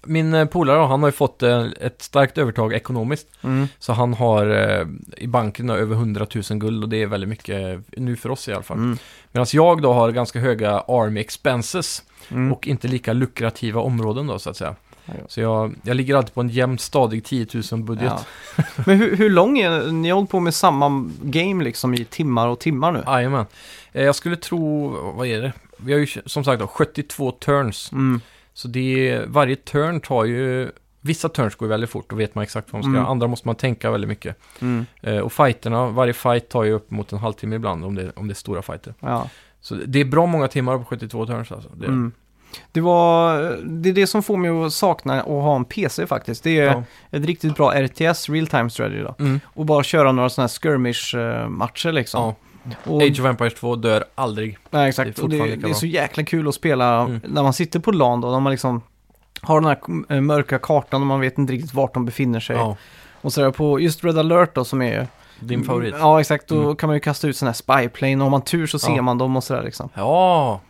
min eh, polare då, han har ju fått eh, ett starkt övertag ekonomiskt.
Mm.
Så han har eh, i banken då, över 100 000 guld och det är väldigt mycket eh, nu för oss i alla fall.
Mm.
Medan jag då har ganska höga army expenses
Mm.
och inte lika lukrativa områden då så att säga.
Ja, ja.
Så jag, jag ligger alltid på en jämn stadig 10 000 budget.
Ja. Men hur, hur lång är Ni har hållit på med samma game liksom i timmar och timmar nu.
Jajamän. Eh, Jag skulle tro, vad är det? Vi har ju som sagt då, 72 turns.
Mm.
Så det är, varje turn tar ju, vissa turns går ju väldigt fort, då vet man exakt vad man ska
Mm.
göra. Andra måste man tänka väldigt mycket.
Mm.
Eh, Och fighterna, varje fight tar ju upp mot en halvtimme ibland om det, om det är stora fighter.
Ja.
Så det det är bra många timmar på 72 turns alltså. Det,
Mm. Det, var, det är det som får mig att sakna att ha en PC faktiskt. Det är
ja.
ett riktigt bra RTS, real time strategy då.
Mm.
Och bara köra några sådana här skirmish-matcher eh, liksom.
ja.
Och,
Age of Empires 2 dör aldrig.
nej,
det är
exakt. Det, och
fortfarande
det,
lika
det är
bra.
så jäkla kul att spela
Mm.
när man sitter på LAN då, när man liksom har den här eh, mörka kartan och man vet inte riktigt vart de befinner sig.
Ja,
Och sådär på just Red Alert då som är
din favorit.
Mm. Ja, exakt. Då
Mm.
kan man ju kasta ut sådana här spyplane och har man tur så
Ja.
ser man dem och sådär liksom.
Ja,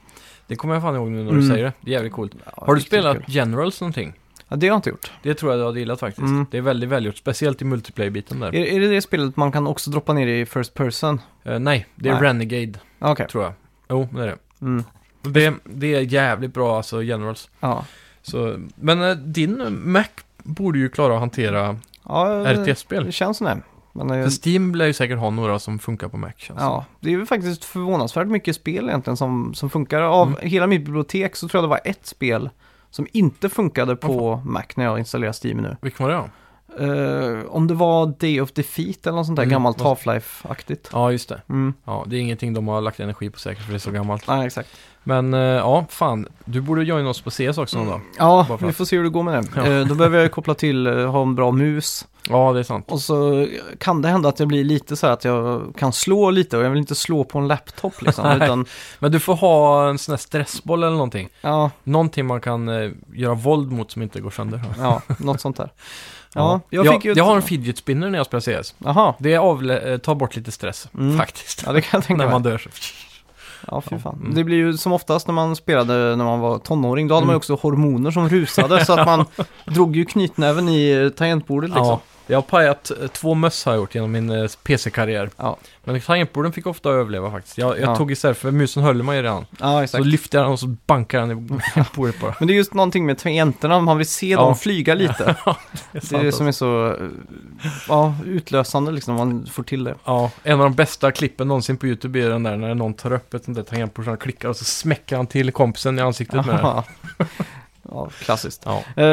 det kommer jag fan ihåg nu när du
Mm.
säger det. Det är jävligt coolt.
Ja,
Har du
riktigt
spelat
kul.
Generals någonting?
Ja, det har jag inte gjort.
Det tror jag du hade gillat faktiskt.
Mm.
Det är väldigt välgjort, speciellt i multiplayer-biten där.
Är, är det det spelet man kan också droppa ner i First Person?
Eh, nej, det är
Nej.
Renegade,
Okej.
tror jag. Jo, det är det.
Mm.
Det, det är jävligt bra alltså, Generals.
Ja.
Så, men eh, din Mac borde ju klara att hantera
ja det-
RTS-spel.
Det känns som det. Men, eh, det-
För Steam lär ju säkert ha några som funkar på Mac. Känns
ja, det är ju faktiskt förvånansvärt mycket spel egentligen som, som funkar. Av
Mm.
hela mitt bibliotek så tror jag det var ett spel som inte funkade på Mac när jag installerade Steam nu.
det. Vilken var det då?
Eh, om det var Day of Defeat eller något sånt där
Mm.
gammalt Half-Life-aktigt.
Ja, just det.
Mm.
Ja, det är ingenting de har lagt energi på säkert för det är så gammalt.
Nej, exakt.
Men eh, ja, fan. Du borde joina oss på CS också
Mm.
någon dag. Bara
Ja,
för
vi
att-
får se hur det går med det.
Ja.
Eh, då behöver jag ju koppla till, eh, ha en bra mus.
Ja, det är sant.
Och så kan det hända att jag blir lite så här att jag kan slå lite och jag vill inte slå på en laptop
[LAUGHS]
liksom.
Nej.
utan,
Men du får ha en sån här stressboll eller någonting.
ja,
Någonting man kan eh, göra våld mot som inte går sönder. Ja,
ja, något sånt där. Ja, jag fick ju... ett-
jag har en fidget spinner när jag spelar CS.
Jaha,
Det avlä- eh, tar bort lite stress, [LAUGHS]
Mm.
faktiskt.
ja det kan jag tänka
när
mig.
man dör. liksom. så-
Ja, fy fan.
Mm.
Det blir ju som oftast när man spelade när man var tonåring, då hade man
Mm.
ju också hormoner som rusade så
[LAUGHS]
att man drog ju knytnäven i eh, tangentbordet liksom.
Ja, jag har pajat eh, två möss har jag gjort genom min eh, PC-karriär.
Ja.
Men tangentborden fick ofta överleva faktiskt. Jag, jag
Ja.
tog isär, för musen höll man ju redan.
Ja,
Så lyfte jag den och så bankade jag den i [LAUGHS] bordet bara.
Men det är just någonting med tangenterna, man vill se
Ja.
dem
[LAUGHS]
flyga lite. Det är
sant alltså.
det som är så eh, ja, utlösande liksom, när man får till det.
Ja, en av de bästa klippen någonsin på YouTube är den där när någon tar upp ett sånt där tangentbord som han klickar och så smäcker han till kompisen i ansiktet med det.
[LAUGHS] Ja, klassiskt.
Ja.
Eh,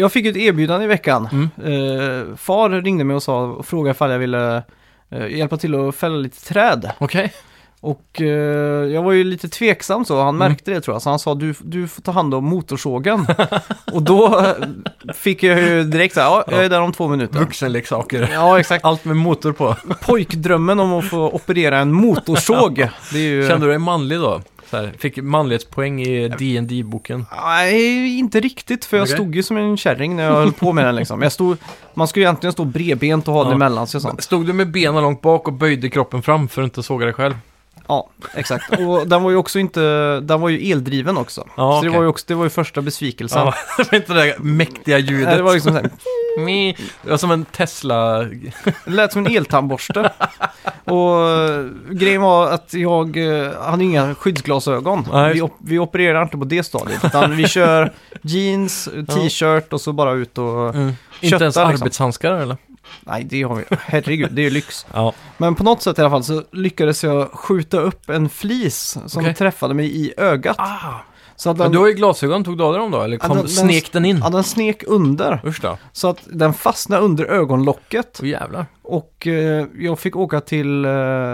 jag fick ett erbjudande i veckan.
Mm.
Eh, far ringde mig och, sa, och frågade ifall jag ville eh, hjälpa till att fälla lite träd.
Okej,
Och eh, jag var ju lite tveksam så, han
Mm.
märkte det tror jag. Så han sa du, du får ta hand om [LAUGHS] motorsågen. och då eh, fick jag ju direkt så här, ja, jag är där om två minuter.
vuxenleksaker.
Ja, exakt.
Allt med motor på.
Pojkdrömmen om att få operera en motorsåg. Det är ju...
Kände du dig manlig då? Så här, fick manlighetspoäng i dd boken
Nej, inte riktigt. För jag
Okej.
stod ju som en kärring när jag höll på med den liksom. Jag stod, man skulle ju egentligen stå bredbent och ha den
Ja.
emellan sig och sånt.
Stod du med benen långt bak och böjde kroppen fram för att inte såga dig själv?
Ja, exakt. Och den var ju också inte, den var ju eldriven också.
Ja,
så
okej.
det var ju också, det var ju första besvikelsen.
Ja, [LAUGHS] det var inte det där mäktiga ljudet.
Nej, Det var liksom så här,
Mii. Det var som en Tesla...
det lät som en eltandborste. och eh, grejen var att jag eh, hade inga skyddsglasögon.
Nej.
Vi, op- vi opererar inte på det stadiet. Utan vi kör
[LAUGHS]
jeans, t-shirt och så bara ut och...
Inte ens
Köttar, liksom.
arbetshandskar eller?
Nej, det har vi. Herregud, det är ju lyx.
Ja.
Men på något sätt i alla fall så lyckades jag skjuta upp en flis som
Okej.
träffade mig i ögat.
Ah.
Så att
Men
den,
du har ju glasögon, tog du av dig dem då? Eller
Ja,
kom,
den- den-
snek den in?
ja, den snek under.
Usch då.
Så att den fastnade under ögonlocket.
Åh jävlar.
Och eh, jag fick åka till eh,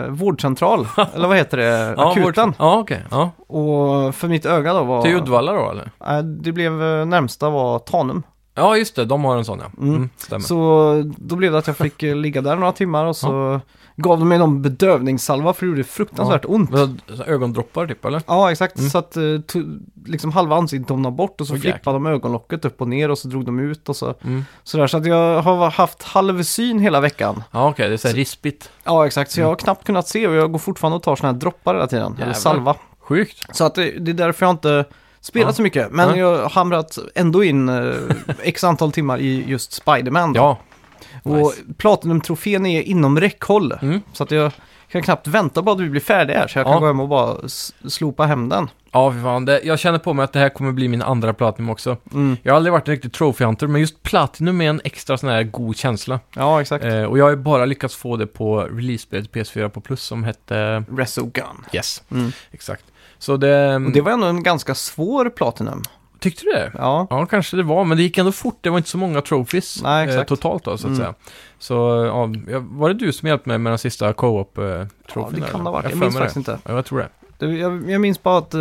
vårdcentral,
[LAUGHS]
eller vad heter det, akuten.
vårt- Ja, okej. Ja.
Och för mitt öga då var...
Till Uddevalla då eller?
Nej, det blev eh, närmsta var Tanum.
Ja, just det. De har en sån ja. Mm.
Mm.
stämmer.
Så eh, då blev det att jag fick eh, ligga där några timmar och så gav de mig någon bedövningssalva för det gjorde fruktansvärt ont.
Vad- så Ögondroppar typ eller?
Ja, exakt.
Mm.
Så att eh, to, liksom halva ansiktet domnade bort och så
Åh,
flippade
jäklar.
de ögonlocket upp och ner och så drog de ut och så.
Mm.
Sådär, så att jag har haft halv syn hela veckan.
Ja, okej. Det är såhär rispigt.
Ja, exakt. Så jag har knappt kunnat se och jag går fortfarande och tar sådana här droppar hela tiden.
Mm. Jävlar.
Eller salva.
Sjukt.
Så att det, det är därför jag inte spelat
Ja.
så mycket. Men
Ja.
jag har hamrat ändå in eh, x antal timmar i just Spiderman. då.
Ja.
och
nice.
Platinum-trofén är inom räckhåll.
Mm.
Så att jag kan knappt vänta på att vi blir färdiga här så jag kan
Ja.
gå hem och bara s- slopa hem den.
Ja, fy fan. Det, jag känner på mig att det här kommer bli min andra platinum också.
Mm.
Jag har aldrig varit en riktig trophy hunter, men just platinum är en extra sån här god känsla.
Ja, exakt.
Eh, och jag har ju bara lyckats få det på releasespelet PS4 på plus som hette...
Resogun.
Yes,
Mm.
exakt. Så det... mm,
Och det var ändå en ganska svår Platinum.
Tyckte du det?
Ja,
Ja, kanske det var, men det gick ändå fort. Det var inte så många trophies
Nej,
eh,
exakt.
totalt då, så att
Mm.
säga. Så, ja, jag- var det du som hjälpte mig med den sista eh, co-op-trofén?
ja det kan det ha varit.
Jag,
Jag,
har
minns
för mig
faktiskt inte.
det. Ja, jag tror det.
Det, jag, jag minns bara att eh,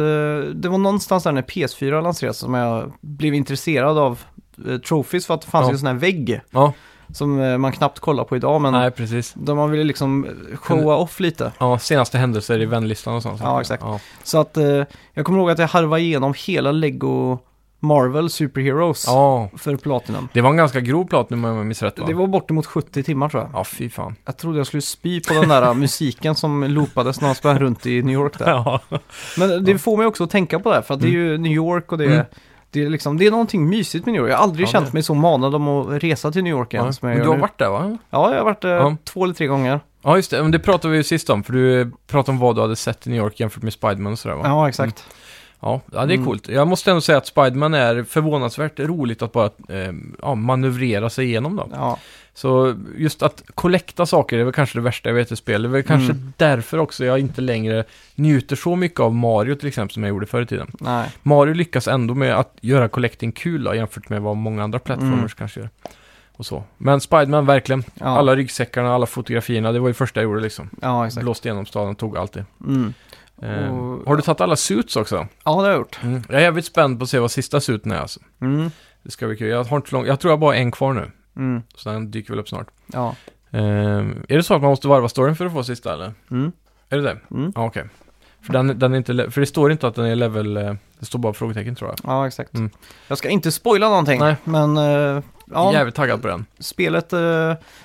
det var någonstans där när PS4 lanserades som jag blev intresserad av eh, trophies för att det fanns
Ja.
ju en sån här vägg.
Ja,
Som eh, man knappt kollar på idag, men
Nej, precis.
där man ville liksom eh, showa off lite.
Ja, senaste händelser i vänlistan och sånt.
Ja, exakt.
Ja,
Så att eh, jag kommer ihåg att jag harvade igenom hela Lego Marvel Superheroes
ja.
för Platinum.
det var en ganska grov platinum om jag minns rätt va?
Det var bortemot 70 timmar tror jag.
Ja, fy fan.
Jag trodde jag skulle spy på den där eh, [LAUGHS] musiken som loopades när han sprang runt i New York där.
Ja.
Men det får mig också att tänka på det här, för att det är ju New York och det är,
Mm.
det är liksom, det är någonting mysigt med New York. Jag har aldrig
Ja,
känt
det-
mig så manad om att resa till New York
Ja.
än som
Men
jag gör
du har
nu.
varit där va?
Ja, jag har varit där
Ja.
två eller tre gånger.
Ja, just det. Men det pratade vi ju sist om, för du pratade om vad du hade sett i New York jämfört med Spiderman och sådär va?
Ja, exakt.
Ja, ja det är
Mm.
coolt. Jag måste ändå säga att Spiderman är förvånansvärt roligt att bara eh, ja, manövrera sig igenom då.
Ja.
Så just att kollekta saker är väl kanske det värsta jag vet i spel. Det är väl kanske
Mm.
därför också jag inte längre njuter så mycket av Mario till exempel som jag gjorde förr i tiden.
Nej.
Mario lyckas ändå med att göra collecting kul då, jämfört med vad många andra plattformars
Mm.
kanske gör. Och så. Men Spiderman, verkligen.
Ja.
Alla ryggsäckarna, alla fotografierna, det var ju första jag gjorde liksom.
ja, exakt.
Blåste igenom staden, tog allt det.
Mm.
Eh,
Och- Mm.
har du tagit alla suits också?
Ja, det har jag gjort.
Jag är jävligt spänd på att se vad sista suiten är alltså.
Mm.
Det ska bli kul. Jag, har inte så lång... jag tror jag bara har en kvar nu,
Mm.
så den dyker väl upp snart.
Ja.
Eh, är det så att man måste varva storyn för att få sista eller?
Mm.
Är det det?
Mm.
Ja, okej. För, den, den är inte, le- för det står inte att den är level... eh, Det står bara frågetecken tror jag.
Ja, exakt.
Mm.
Jag ska inte spoila någonting,
Nej.
men eh, ja,
Jävligt taggad på den.
spelet, eh,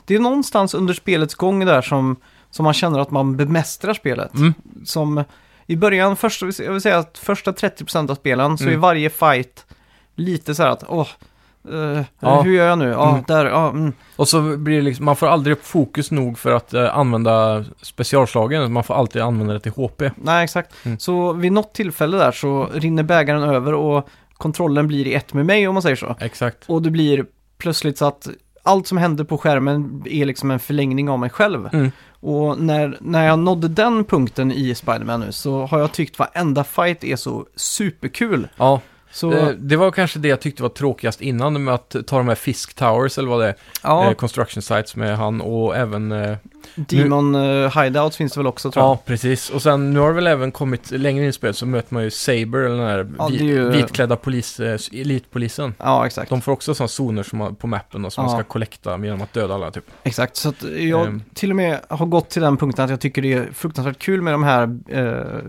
det är någonstans under spelets gång där som, som man känner att man bemästrar spelet.
Mm.
Som i början, första, jag vill säga att första 30% av spelen så
Mm.
är varje fight lite så här att, åh, eh,
Ja.
hur gör jag nu? Ja,
Mm.
där, ja, mm.
Och så blir det liksom, man får aldrig upp fokus nog för att eh, använda specialslagen. Man får alltid använda det till HP.
Nej, exakt.
Mm.
Så vid något tillfälle där så rinner bägaren över och kontrollen blir i ett med mig om man säger så.
Exakt.
Och det blir plötsligt så att allt som händer på skärmen är liksom en förlängning av mig själv.
Mm.
Och när, när jag nådde den punkten i Spider-Man nu så har jag tyckt varenda fight är så superkul.
Ja,
Så,
det, det var kanske det jag tyckte var tråkigast innan med att ta de här Fisk Towers eller vad det är. Eh,
ja, construction
construction Sites med han och även... Eh,
Demon eh, Hideouts finns det väl också tror jag.
ja, precis. Och sen nu har det väl även kommit längre in i spelet så möter man ju Saber eller den här
Ja,
vit,
det är ju-
vitklädda polis, eh, elitpolisen.
Ja, exakt.
De får också sådana zoner som man, på mappen då, som man
Ja.
ska kollekta genom att döda alla typ.
Exakt, så att jag
Ehm.
till och med har gått till den punkten att jag tycker det är fruktansvärt kul med de här eh,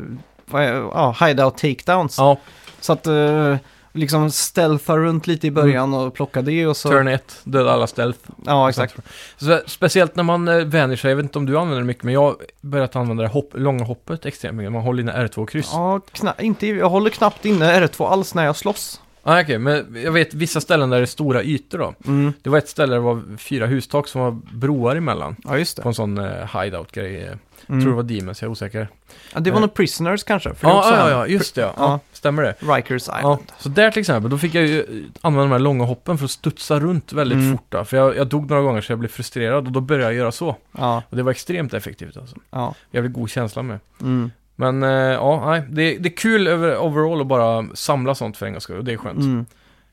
vad är- ja, hideout takedowns.
Ja,
Så att eh, liksom stealtha runt lite i början och plocka det och så...
Mm. turn 1, döda alla stealth.
Ja, exakt.
Så, speciellt när man eh, vänjer sig, jag vet inte om du använder det mycket, men jag har börjat använda det hopp, långa hoppet extremt mycket. Man håller inne R2-kryss. Ja.
Ja, kna- inte, jag håller knappt inne R2 alls när jag slåss.
Ah, Okej, men jag vet vissa ställen där det är stora ytor då.
Mm.
Det var ett ställe där det var fyra hustak som var broar emellan.
Ja, just det.
På en sån eh, hideout-grej. eh.
Mm.
Tror det var Demons, jag är osäker.
ja, det var
eh.
nog Prisoners kanske. För
Ja,
det är också
ah, ja,
en-
ja, just det. Ja.
Ja.
Stämmer det?
Rikers
Ja,
Island.
så där till exempel, då fick jag ju eh, använda de här långa hoppen för att studsa runt väldigt
Mm.
fort. Då, för jag, jag dog några gånger så jag blev frustrerad och då började jag göra så.
Ja,
Och det var extremt effektivt alltså.
ja.
Jävligt god känsla med.
Mm.
Men eh, ja, nej, det, det är kul över, overall att bara samla sånt för en gångs skull och det är skönt.
Mm.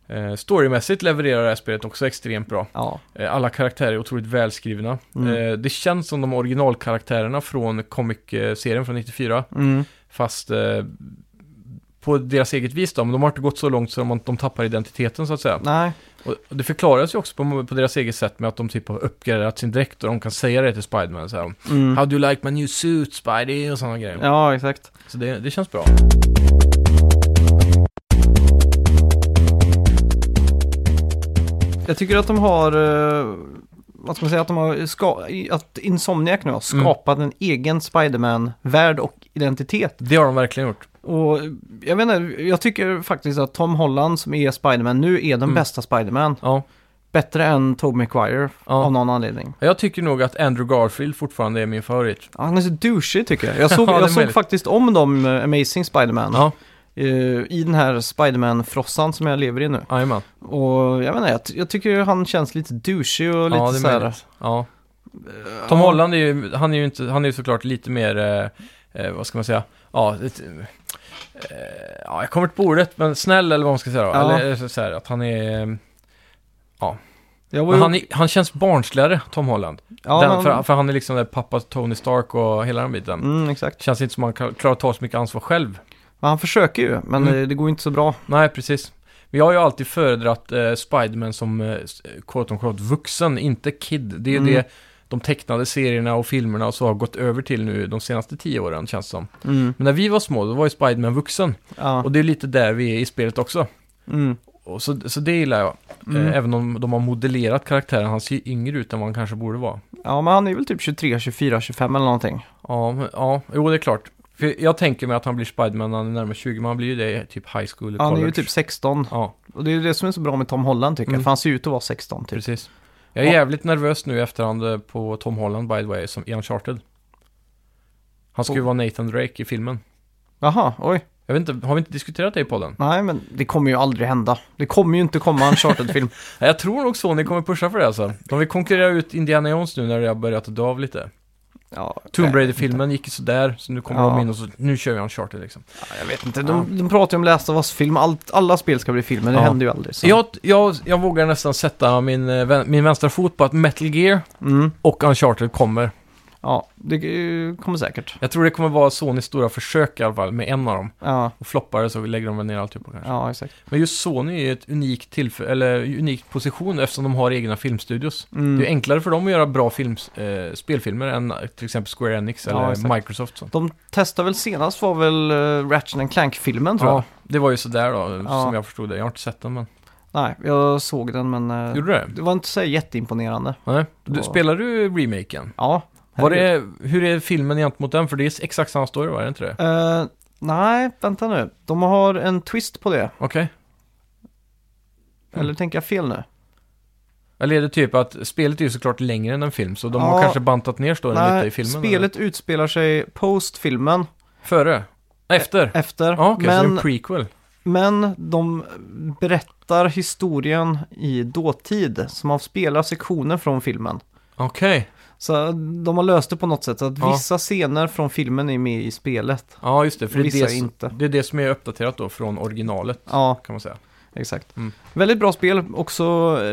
Eh, storymässigt levererar det här spelet också extremt bra.
Ja.
Eh, alla karaktärer är otroligt välskrivna.
Mm.
Eh, det känns som de originalkaraktärerna från comic-serien från 94,
Mm.
fast eh, på deras eget vis då, men de har inte gått så långt så de, de tappar identiteten så att säga.
Nej.
Och och det förklaras ju också på, på deras eget sätt med att de typ har uppgraderat sin dräkt och de kan säga det till Spiderman så här,
Mm.
How do you like my new suit Spidey? och sådana grejer.
Ja, exakt.
Så det, det känns bra.
Jag tycker att de har... eh, vad ska man säga? Att, de har ska, att Insomniac nu har
Mm.
skapat en egen Spiderman-värld och identitet.
Det har de verkligen gjort.
Och jag vet inte, jag tycker faktiskt att Tom Holland som är Spiderman nu är den
Mm.
bästa Spiderman.
Ja.
Bättre än Tobey Maguire
Ja.
av någon anledning.
Jag tycker nog att Andrew Garfield fortfarande är min favorit.
Ja, Han är så douchig tycker
[LAUGHS]
jag. Jag såg,
Ja, det är
jag såg
möjligt.
faktiskt om de eh, Amazing Spiderman.
Ja,
eh, I den här Spiderman-frossan som jag lever i nu.
jajamän.
Och jag vet inte, jag, ty- jag tycker han känns lite douchig och lite
Ja, det
så här.
är möjligt. Ja. Tom
Eh, ja.
Holland är ju, han är ju inte, han är ju såklart lite mer, eh, eh, vad ska man säga, ja, lite, eh, ja, jag kommer inte på ordet, men snäll eller vad man ska säga då.
Ja.
Eller eh, så- så här, att han är, eh,
Jag var
men
ju,
han, är, han känns barnsligare, Tom Holland.
ja,
Den,
men-
för, för han är liksom där pappa Tony Stark och hela den biten.
mm, exakt.
Känns inte som han kan- klarar att ta så mycket ansvar själv.
Men han försöker ju, men
Mm.
eh, det går ju inte så bra.
Nej, precis. Men jag har ju alltid föredragit eh, Spiderman som eh, quote on quote vuxen, inte kid. Det är ju
Mm.
det de tecknade serierna och filmerna och så har gått över till nu de senaste tio åren känns det som.
Mm.
Men när vi var små, då var ju Spiderman vuxen.
Ja.
Och det är lite där vi är i spelet också.
Mm.
Och så, så det gillar jag.
Mm.
Eh, Även om de har modellerat karaktären, han ser ju yngre ut än vad han kanske borde vara.
ja, men han är väl typ 23, 24, 25 eller någonting.
Ja, men, ja, jo det är klart. För jag tänker mig att han blir Spiderman när han är närmare 20, men han blir ju det i typ high school eller
Han är
college.
ju typ 16.
Ja,
Och det är ju det som är så bra med Tom Holland tycker
Mm.
jag, för han ser ut att vara 16 typ.
precis. Jag är
Ja.
jävligt nervös nu i efterhand eh, på Tom Holland by the way, som i Uncharted. Han
Oh.
ska ju vara Nathan Drake i filmen.
Jaha, oj.
Jag vet inte, har vi inte diskuterat det i podden?
Nej, men det kommer ju aldrig hända. Det kommer ju inte komma en
[LAUGHS]
Uncharted-film.
Nej, Jag tror nog Sony kommer pusha för det alltså. De vill konkurrera ut Indiana Jones nu när det har börjat dö av lite.
ja,
Tomb
nej,
Raider-filmen gick ju sådär, så nu kommer
Äh, Ja.
de in och så, nu kör vi Uncharted liksom.
Jag vet inte, de, de pratar ju om Last of Us-film. Allt, alla spel ska bli filmer, det
Ja.
händer ju aldrig. Så.
Jag, jag, jag vågar nästan sätta min, eh, vän- min vänstra fot på att Metal Gear
Mm.
och Uncharted kommer.
Ja, det eh, kommer säkert.
Jag tror det kommer vara Sonys stora försök i alla fall, med en av dem.
Ja,
Och floppar det så lägger de väl ner alltihopa kanske.
ja exakt.
Men just Sony är ju ett unikt tillfälle, eller unik position eftersom de har egna filmstudios.
Mm.
Det är ju enklare för dem att göra bra films, eh, spelfilmer än eh, till exempel Square Enix
Ja,
eller
exakt.
Microsoft. Så.
De testade väl senast var väl eh, Ratchet and Clank-filmen tror jag.
Ja, det var ju sådär då,
Ja.
som jag förstod det. Jag har inte sett den men...
Nej, jag såg den men eh,
Gjorde du det?
det var inte så jätteimponerande.
Nej. Du,
Ja.
spelar du remaken?
Ja.
Var
herregud.
det, hur är filmen gentemot den? För det är exakt samma story, var det inte det?
Eh, nej, vänta nu. De har en twist på det.
Okej.
Eller tänker jag fel nu?
Eller är det typ att spelet är ju såklart längre än en film, så de har
Ja.
kanske bantat ner storyn lite i filmen? eller?
spelet utspelar sig post filmen,
Före? Efter?
efter.
Ja, Ah, okej, så det är en
Äh, men,
prequel.
men de berättar historien i dåtid, som man spelar sektioner från filmen.
Okej.
Så de har löst det på något sätt, så att
Ja.
vissa scener från filmen är med i spelet.
Ja, just det. För det
Vissa
är det,
inte.
Som, det är det som är uppdaterat då från originalet,
Ja,
kan man säga.
exakt.
Mm.
Väldigt bra spel, också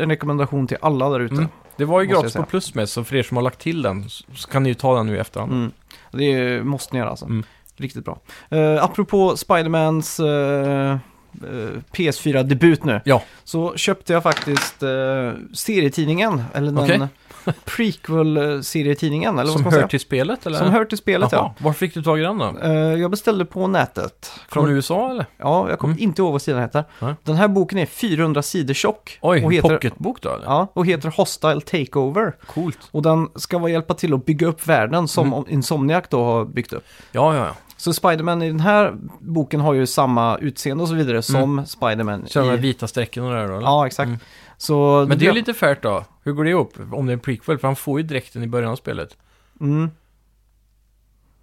en rekommendation till alla där ute.
Mm. Det var ju
Måste jag
gratis på
säga.
plus med, så för er som har lagt till den så så kan ni ju ta den nu i efterhand.
Mm. Det är- måste ni göra alltså.
Mm.
Riktigt bra. Uh, apropå Spidermans eh, eh, PS4-debut nu.
Ja.
Så köpte jag faktiskt eh, serietidningen, eller den
Okej.
[LAUGHS] prequel-serietidningen, eller vad
Som hör
ska man säga?
till spelet, eller?
Som hör till spelet, ja.
Jaha, Var fick du tag i den då?
Eh, jag beställde på nätet.
Från
Kommer-
USA, eller?
Ja, jag kommer
Mm.
inte ihåg vad sidan heter.
Nej.
Den här boken är 400 sidor tjock.
Oj,
och heter,
pocketbok då, eller?
Ja, och heter Hostile Takeover.
Coolt.
Och den ska vara hjälpa till att bygga upp världen
Mm.
som Insomniac då har byggt upp.
Ja, ja, ja.
Så Spiderman i den här boken har ju samma utseende och så vidare som Spiderman
Mm. Kör de här
i...
vita strecken och det där då, eller?
Ja, exakt.
Mm.
Så
Men det är ju lite färt då. Hur går det ihop? Om det är en prequel, för han får ju dräkten i början av spelet.
Mm.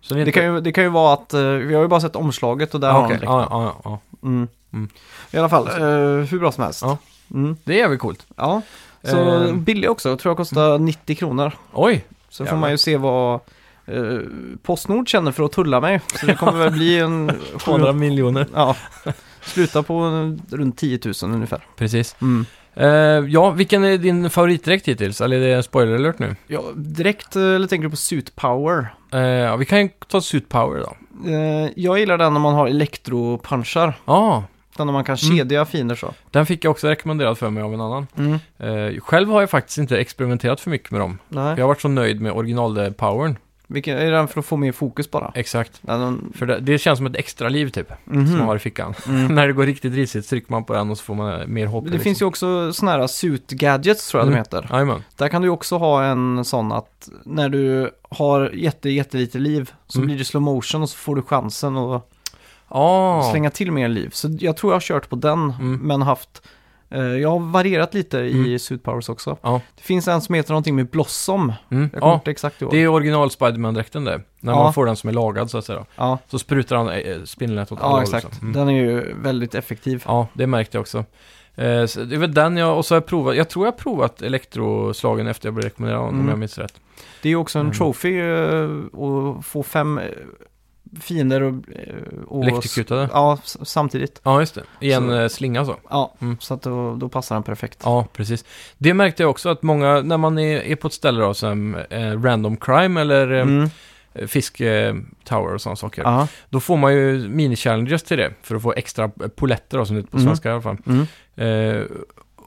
Så det, är
Det, kan ju, det kan ju vara att, eh, vi har ju bara sett omslaget och där
Ja,
har
okej.
han
ja, ja, ja.
mm.
Mm.
I alla fall, eh, hur bra som helst.
Ja.
Mm.
Det är jävligt coolt.
ja. Så
Eh.
billig också, jag tror jag kostar 90 kronor.
Oj!
Så får
Jävlar.
man ju se vad eh, Postnord känner för att tulla mig. Så det kommer väl
[LAUGHS]
bli en...
200 miljoner.
ja, [LAUGHS] sluta på en- runt 10 000 ungefär.
Precis.
Mm.
Eh, ja, vilken är din favoritdräkt hittills? Eller är det en spoiler alert nu?
Ja, direkt, eh, eller tänker du på Suit Power?
Eh, ja, vi kan ju ta Suit Power då.
Eh, jag gillar den när man har elektropunchar.
Ja,
Den när man kan
Mm.
kedja fiender så.
den fick jag också rekommenderad för mig av en annan.
Mm.
Eh, själv har jag faktiskt inte experimenterat för mycket med dem.
Nej.
Jag har varit så nöjd med original-powern.
Vilken, är den för att få mer fokus bara?
Exakt.
Ja, den,
För det, det känns som ett extra liv typ, som man
Mhm.
har i fickan. [LAUGHS]
Mm. Liksom.
När det går riktigt risigt trycker man på den och så får man eh, mer hopp.
Det finns ju också såna här suit gadgets tror jag
Mm.
de heter.
Jajamän.
Där kan du också ha en sån att när du har jätte, jättelite liv så
Mm.
blir det slow motion och så får du chansen att
Ja,
slänga till mer liv. Så jag tror jag har kört på den,
Mm.
men haft... eh, jag har varierat lite i Suit Powers också.
Ja.
Det finns en som heter någonting med Blossom.
mm,
Jag
ja.
kommer inte exakt ihåg.
Det är original Spiderman-dräkten det. När
Ja.
man får den som är lagad så att säga.
Ja,
Så sprutar han eh, spindelnät åt alla
ja
håll,
exakt.
liksom. Mm.
Den är ju väldigt effektiv.
Ja, det märkte jag också. Eh, så det var den jag, och så har jag provat, jag tror jag har provat elektroslagen efter jag blev rekommenderad av honom, om
Mm.
jag minns rätt.
Det är ju också en
Mm.
trophy eh, att få fem eh, fiender och... eh, och
Elektrikutade.
Ja, s- samtidigt.
Ja, just det. I en
Så-
eh, slinga så.
Ja,
Mm.
så att då, då passar den perfekt.
Ja, precis. Det märkte jag också att många, när man är, är på ett ställe då, som eh, Random Crime eller eh,
Mm.
Fisk eh, Tower och sådana saker.
Ja.
Då får man ju mini-challenges till det, för att få extra eh, poletter då, som det heter på
Mm.
svenska i alla fall.
Mm.
Eh,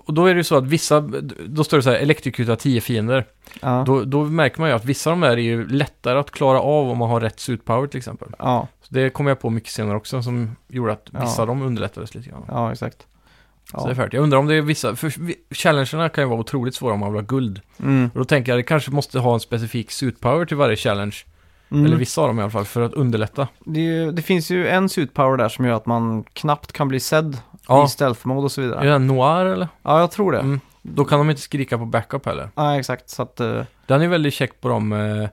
och då är det ju så att vissa, då står det så här elektrikuta 10 fiender.
Ja.
Då, då märker man ju att vissa av de här är ju lättare att klara av om man har rätt suit power till exempel.
ja.
Så det kom jag på mycket senare också som gjorde att vissa
Ja.
av dem underlättades lite grann.
Ja, exakt.
Så det är
Ja.
färdigt. Jag undrar om det är vissa, för vi- challengerna kan ju vara otroligt svåra om man vill ha guld.
Mm.
Och då tänker jag att det kanske måste ha en specifik suit power till varje challenge. Eller
Mm.
vissa av dem i alla fall, för att underlätta.
Det, är ju, det finns ju en suit power där som gör att man knappt kan bli sedd
Ja.
i stealth mode och så
Är
vidare.
det den noir eller?
Ja, jag tror det.
Mm. Då kan de inte skrika på backup heller.
Ja, exakt. Så att eh,
Den är väldigt check på dem. eh,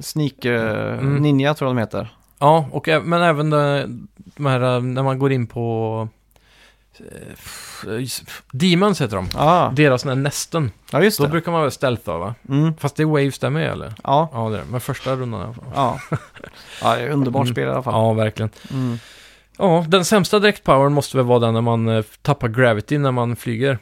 sneak eh,
Mm.
ninja tror jag de heter.
Ja, och, ä- men även de, de här eh, när man går in på... eh, f- eh, f- Demons heter de.
Ja,
Deras den här nästen.
ja just
Då
det.
brukar man väl stealtha va?
Mm.
Fast det är waves där med eller?
Ja,
Ja, det är det. Men första rundan i alla fall. [LAUGHS]
ja. ja, det är underbart
Mm.
spel i alla fall.
Ja, verkligen.
Mm.
Ja, den sämsta dräktpowern måste väl vara den när man eh, tappar gravity när man flyger.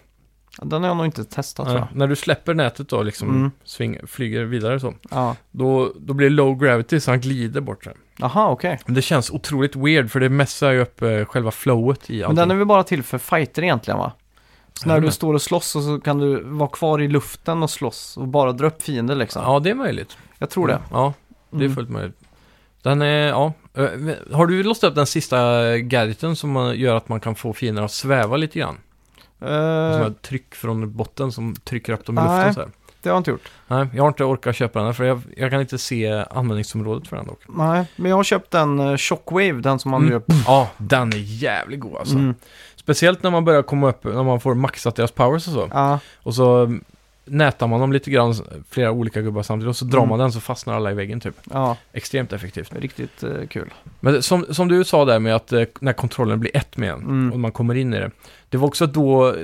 Den har jag nog inte testat tror
Nej,
jag.
när du släpper nätet då liksom,
Mm.
sving, flyger vidare så.
Ja.
Då, då blir det low gravity så han glider bort sen.
Aha, okej.
Men det känns otroligt weird för det messar ju upp eh, själva flowet i
Men
allting.
den är väl bara till för fighter egentligen va? Så när
Ja,
du
men.
står och slåss och så kan du vara kvar i luften och slåss och bara dra upp fiender liksom.
Ja, det är möjligt.
Jag tror det.
Ja, det är
Mm.
fullt möjligt. Den är, ja. Eh, Har du låst upp den sista eh, gadgeten som eh, gör att man kan få fiender att sväva lite grann?
Eh,
Sån här tryck från botten som trycker upp dem i
Nej.
luften så här.
det har jag inte gjort.
Nej, jag har inte orkat köpa den här för jag, jag kan inte se användningsområdet för den dock.
Nej, men jag har köpt den uh, Shockwave, den som man
Mm.
gör.
Ja, den är jävligt god alltså.
Mm.
Speciellt när man börjar komma upp, när man får maxat deras powers och så.
Ja,
Och så mm, nätar man dem lite grann, flera olika gubbar samtidigt, och så drar
Mm.
man den så fastnar alla i väggen typ.
ja,
Extremt effektivt.
riktigt eh, kul.
Men som, som du sa där med att eh, när kontrollen blir ett med en,
Mm.
och man kommer in i det. Det var också då,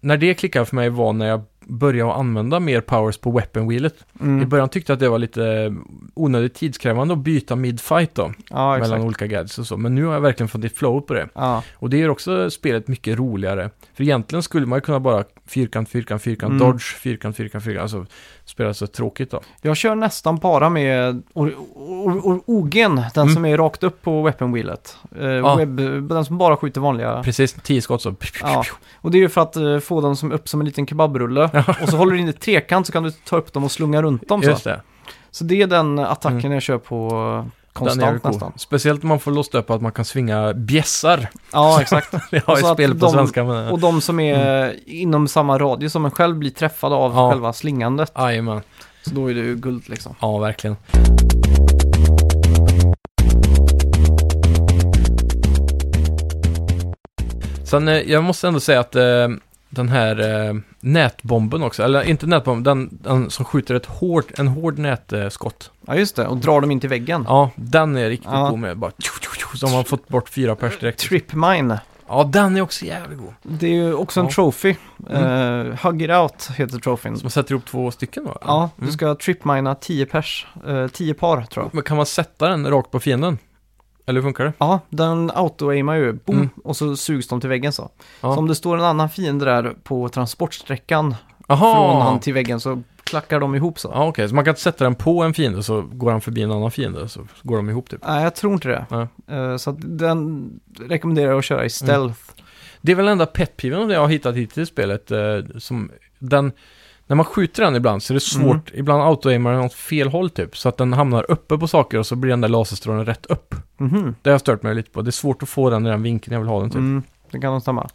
när det klickade för mig var när jag började att använda mer powers på weapon wheelet. I
Mm.
början tyckte jag att det var lite eh, onödigt tidskrävande att byta mid-fight då,
Ja,
mellan
exakt.
olika gadgets och så. Men nu har jag verkligen fått ett flow på det.
Ja,
Och det gör också spelet mycket roligare. För egentligen skulle man ju kunna bara fyrkant, fyrkant, fyrkant,
Mm.
dodge, fyrkant, fyrkant, fyrkant. Alltså spela så tråkigt då.
jag kör nästan bara med or- or- or- Ogen, den
Mm.
som är rakt upp på weapon wheelet. Eh,
Ja.
webb, den som bara skjuter vanliga.
Precis, tio skott så.
Ja. Och det är ju för att eh, få den som upp som en liten kebabrulle. och så håller du in i trekant så kan du ta upp dem och slunga runt dem. Så,
Just det.
så det är den attacken
Mm.
jag kör på eh,
Den är ju
konstant
cool.
nästan.
Speciellt om man får låst upp att man kan svinga bjässar. [LAUGHS]
Ja, exakt.
Det
Och
har
så
ju
Alltså att
spel på
de-
svenska men...
Och de som är inom samma radie som en själv blir träffade av
Mm. Ja.
själva slingandet.
Jajamän.
Så då är det ju guld liksom.
Ja, verkligen. Sen, eh, jag måste ändå säga att eh, den här eh, nätbomben också, eller inte nätbomben, den, den som skjuter ett hårt, en hård nätskott.
Ja, just det. Och drar dem in till väggen.
Ja, den är riktigt
Ja.
god med. Bara, tju, tju, tju, så har man fått bort fyra pers direkt.
Trip mine.
Ja, den är också jävligt god.
Det är ju också en
Ja.
trophy. Mm. hug it out heter trofén.
Så man sätter ihop två stycken va?
Ja,
Mm.
du ska tripmina 10 pers, eh, 10 par tror jag.
Men kan man sätta den rakt på fienden? Eller hur funkar det?
Ja, den auto-aimar ju, boom,
Mm.
och så sugs de till väggen så.
Ja.
Så om det står en annan fiende där på transportsträckan
Aha!
från han till väggen så klackar de ihop så.
Ja, okej. Så man kan sätta den på en fiende så går han förbi en annan fiende så går de ihop typ.
Nej, jag tror inte det. Eh, så att den rekommenderar jag att köra i stealth.
Det är väl den enda petpiven jag har hittat hittills i spelet. Eh, som den, när man skjuter den ibland så är det
Mm.
svårt. Ibland auto-aimar den åt fel håll typ. Så att den hamnar uppe på saker och så blir den där laserstrålen rätt upp.
Mhm.
Det har jag stört mig lite på. Det är svårt att få den i den vinkeln jag vill ha den typ.
Mm, det kan nog stämma.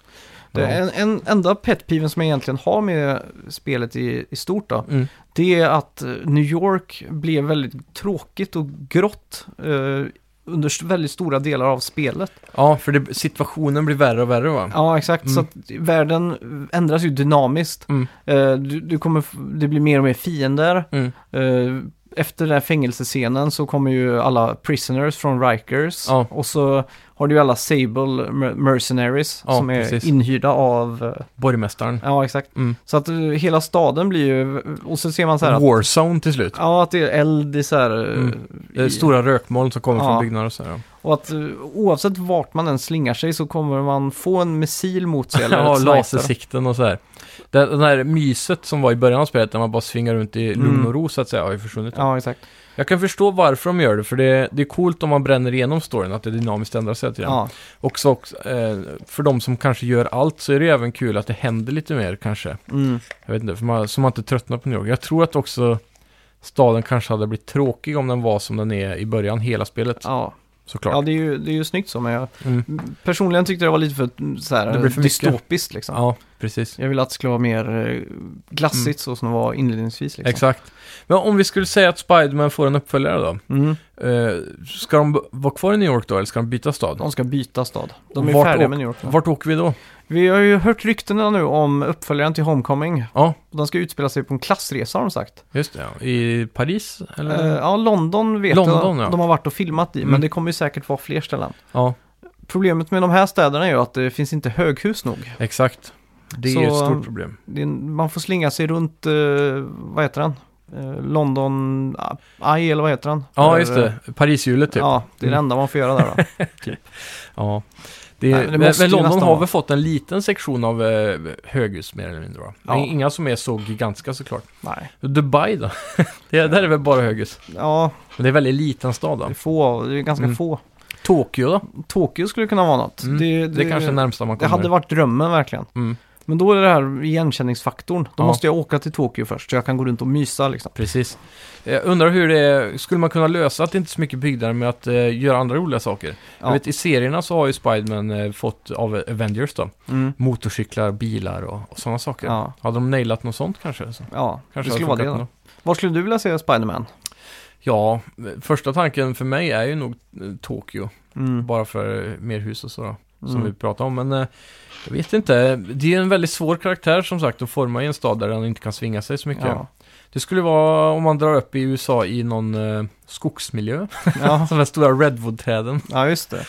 Det är
Ja.
en, en enda petpiven som jag egentligen har med spelet i, i stort då,
Mm.
det är att eh, New York blev väldigt tråkigt och grått eh, under s- väldigt stora delar av spelet.
Ja, för det, situationen blir värre och värre va?
Ja, exakt. Så
Mm.
att världen ändras ju dynamiskt.
Mm.
Eh, du, du kommer, f- det blir mer och mer fiender.
Mm.
Eh, efter den här fängelsescenen så kommer ju alla prisoners från Rikers.
Ja.
Och så har du ju alla Sable mer- mercenaries
Ja,
som är
precis.
inhyrda av... eh,
Borgmästaren.
Ja, exakt.
Mm.
Så att eh, hela staden blir ju... Och så ser man så här att...
Warzone till slut.
Ja, att det är eld i så här... eh,
Mm. Det är
i-
stora rökmoln som kommer
Ja.
från byggnader och så här, ja.
Och att eh, oavsett vart man än slingar sig så kommer man få en missil
[LAUGHS]
mot sig. Eller
Ja,
ett sniper.
lasersikten och sådär. Det, det här myset som var i början av spelet, där man bara svingar runt i lugn
Mm.
och ro så att säga, har ju försvunnit.
Ja, exakt.
Jag kan förstå varför de gör det, för det, det är coolt om man bränner igenom storyn, att det dynamiskt ändras hela tiden.
Ja,
Och så också, eh, för de som kanske gör allt så är det ju även kul att det händer lite mer kanske.
mm.
Jag vet inte, för man, så man inte tröttnar på New York. Jag tror att också staden kanske hade blivit tråkig om den var som den är i början, hela spelet.
ja.
Såklart.
ja det, är ju, det är ju snyggt så, men jag
Mm.
personligen tyckte det var lite för, mm, så här,
Det blir för mycket.
dystopiskt liksom.
Ja, precis.
Jag ville att det skulle vara mer eh, glassigt så som det var inledningsvis. Liksom.
Exakt. Men om vi skulle säga att Spiderman får en uppföljare då?
Mm.
Eh, ska de b- vara kvar i New York då, eller ska de byta stad?
De ska byta stad. De är
Vart
färdiga
åk-
med New York. nu.
Vart åker vi då?
Vi har ju hört ryktena nu om uppföljaren till Homecoming.
Ja,
De ska utspela sig på en klassresa har de sagt.
just det. Ja. I Paris, eller?
Eh, ja, London vet
London,
jag
ja.
de har varit och filmat i,
Mm.
men det kommer ju säkert vara fler ställen.
Ja,
Problemet med de här städerna är ju att det finns inte höghus nog.
exakt. Det
Så,
är ett stort
eh,
problem.
Det är, en- man får slinga sig runt, eh, vad heter den? Eh, London ah, Eye eller vad heter den?
Ja,
Där,
just
eh,
det. Parishjulet typ. Ja.
Ja, det är det
Mm.
enda man får göra där
[LAUGHS]
då.
Det,
Nej, men
är-
det
men,
måste
men
ju
London
nästan
har
vara.
väl fått en liten sektion av eh, höghus mer eller mindre va?
Ja.
Det är Inga som är så gigantiska såklart.
Nej,
Dubai då? [LAUGHS] det, där är väl bara höghus.
ja,
Men det är en väldigt liten stad
det är
då.
få, det är ganska
Mm.
få.
Tokyo då?
Tokyo skulle kunna vara något.
Mm.
Det,
Det är kanske det närmsta man
det
kommer.
hade varit drömmen verkligen.
Mm,
Men då är det här igenkänningsfaktorn. Då
Ja.
måste jag åka till Tokyo först så jag kan gå runt och mysa liksom.
precis. Jag undrar hur det skulle man kunna lösa att det inte är så mycket byggnader med att eh, göra andra roliga saker? Jag
Ja.
vet i serierna så har ju Spiderman eh, fått av Avengers då,
Mm.
motorcyklar, bilar och, och sådana saker.
Ja,
Hade de nailat något sånt kanske? Så,
ja.
kanske
det
hade
skulle
funkat
vara det. Då.
ändå.
Var skulle du vilja se Spiderman?
Ja, eh, första tanken för mig är ju nog eh, Tokyo.
Mm.
Bara för eh, mer hus och sådär. Som
Mm.
vi pratade om. Men eh, jag vet inte. Det är en väldigt svår karaktär som sagt att forma i en stad där den inte kan svinga sig så mycket.
Ja.
Det skulle vara om man drar upp i USA i någon eh, skogsmiljö. [LAUGHS]
Ja.
Som de stora redwood-träden.
ja, just det.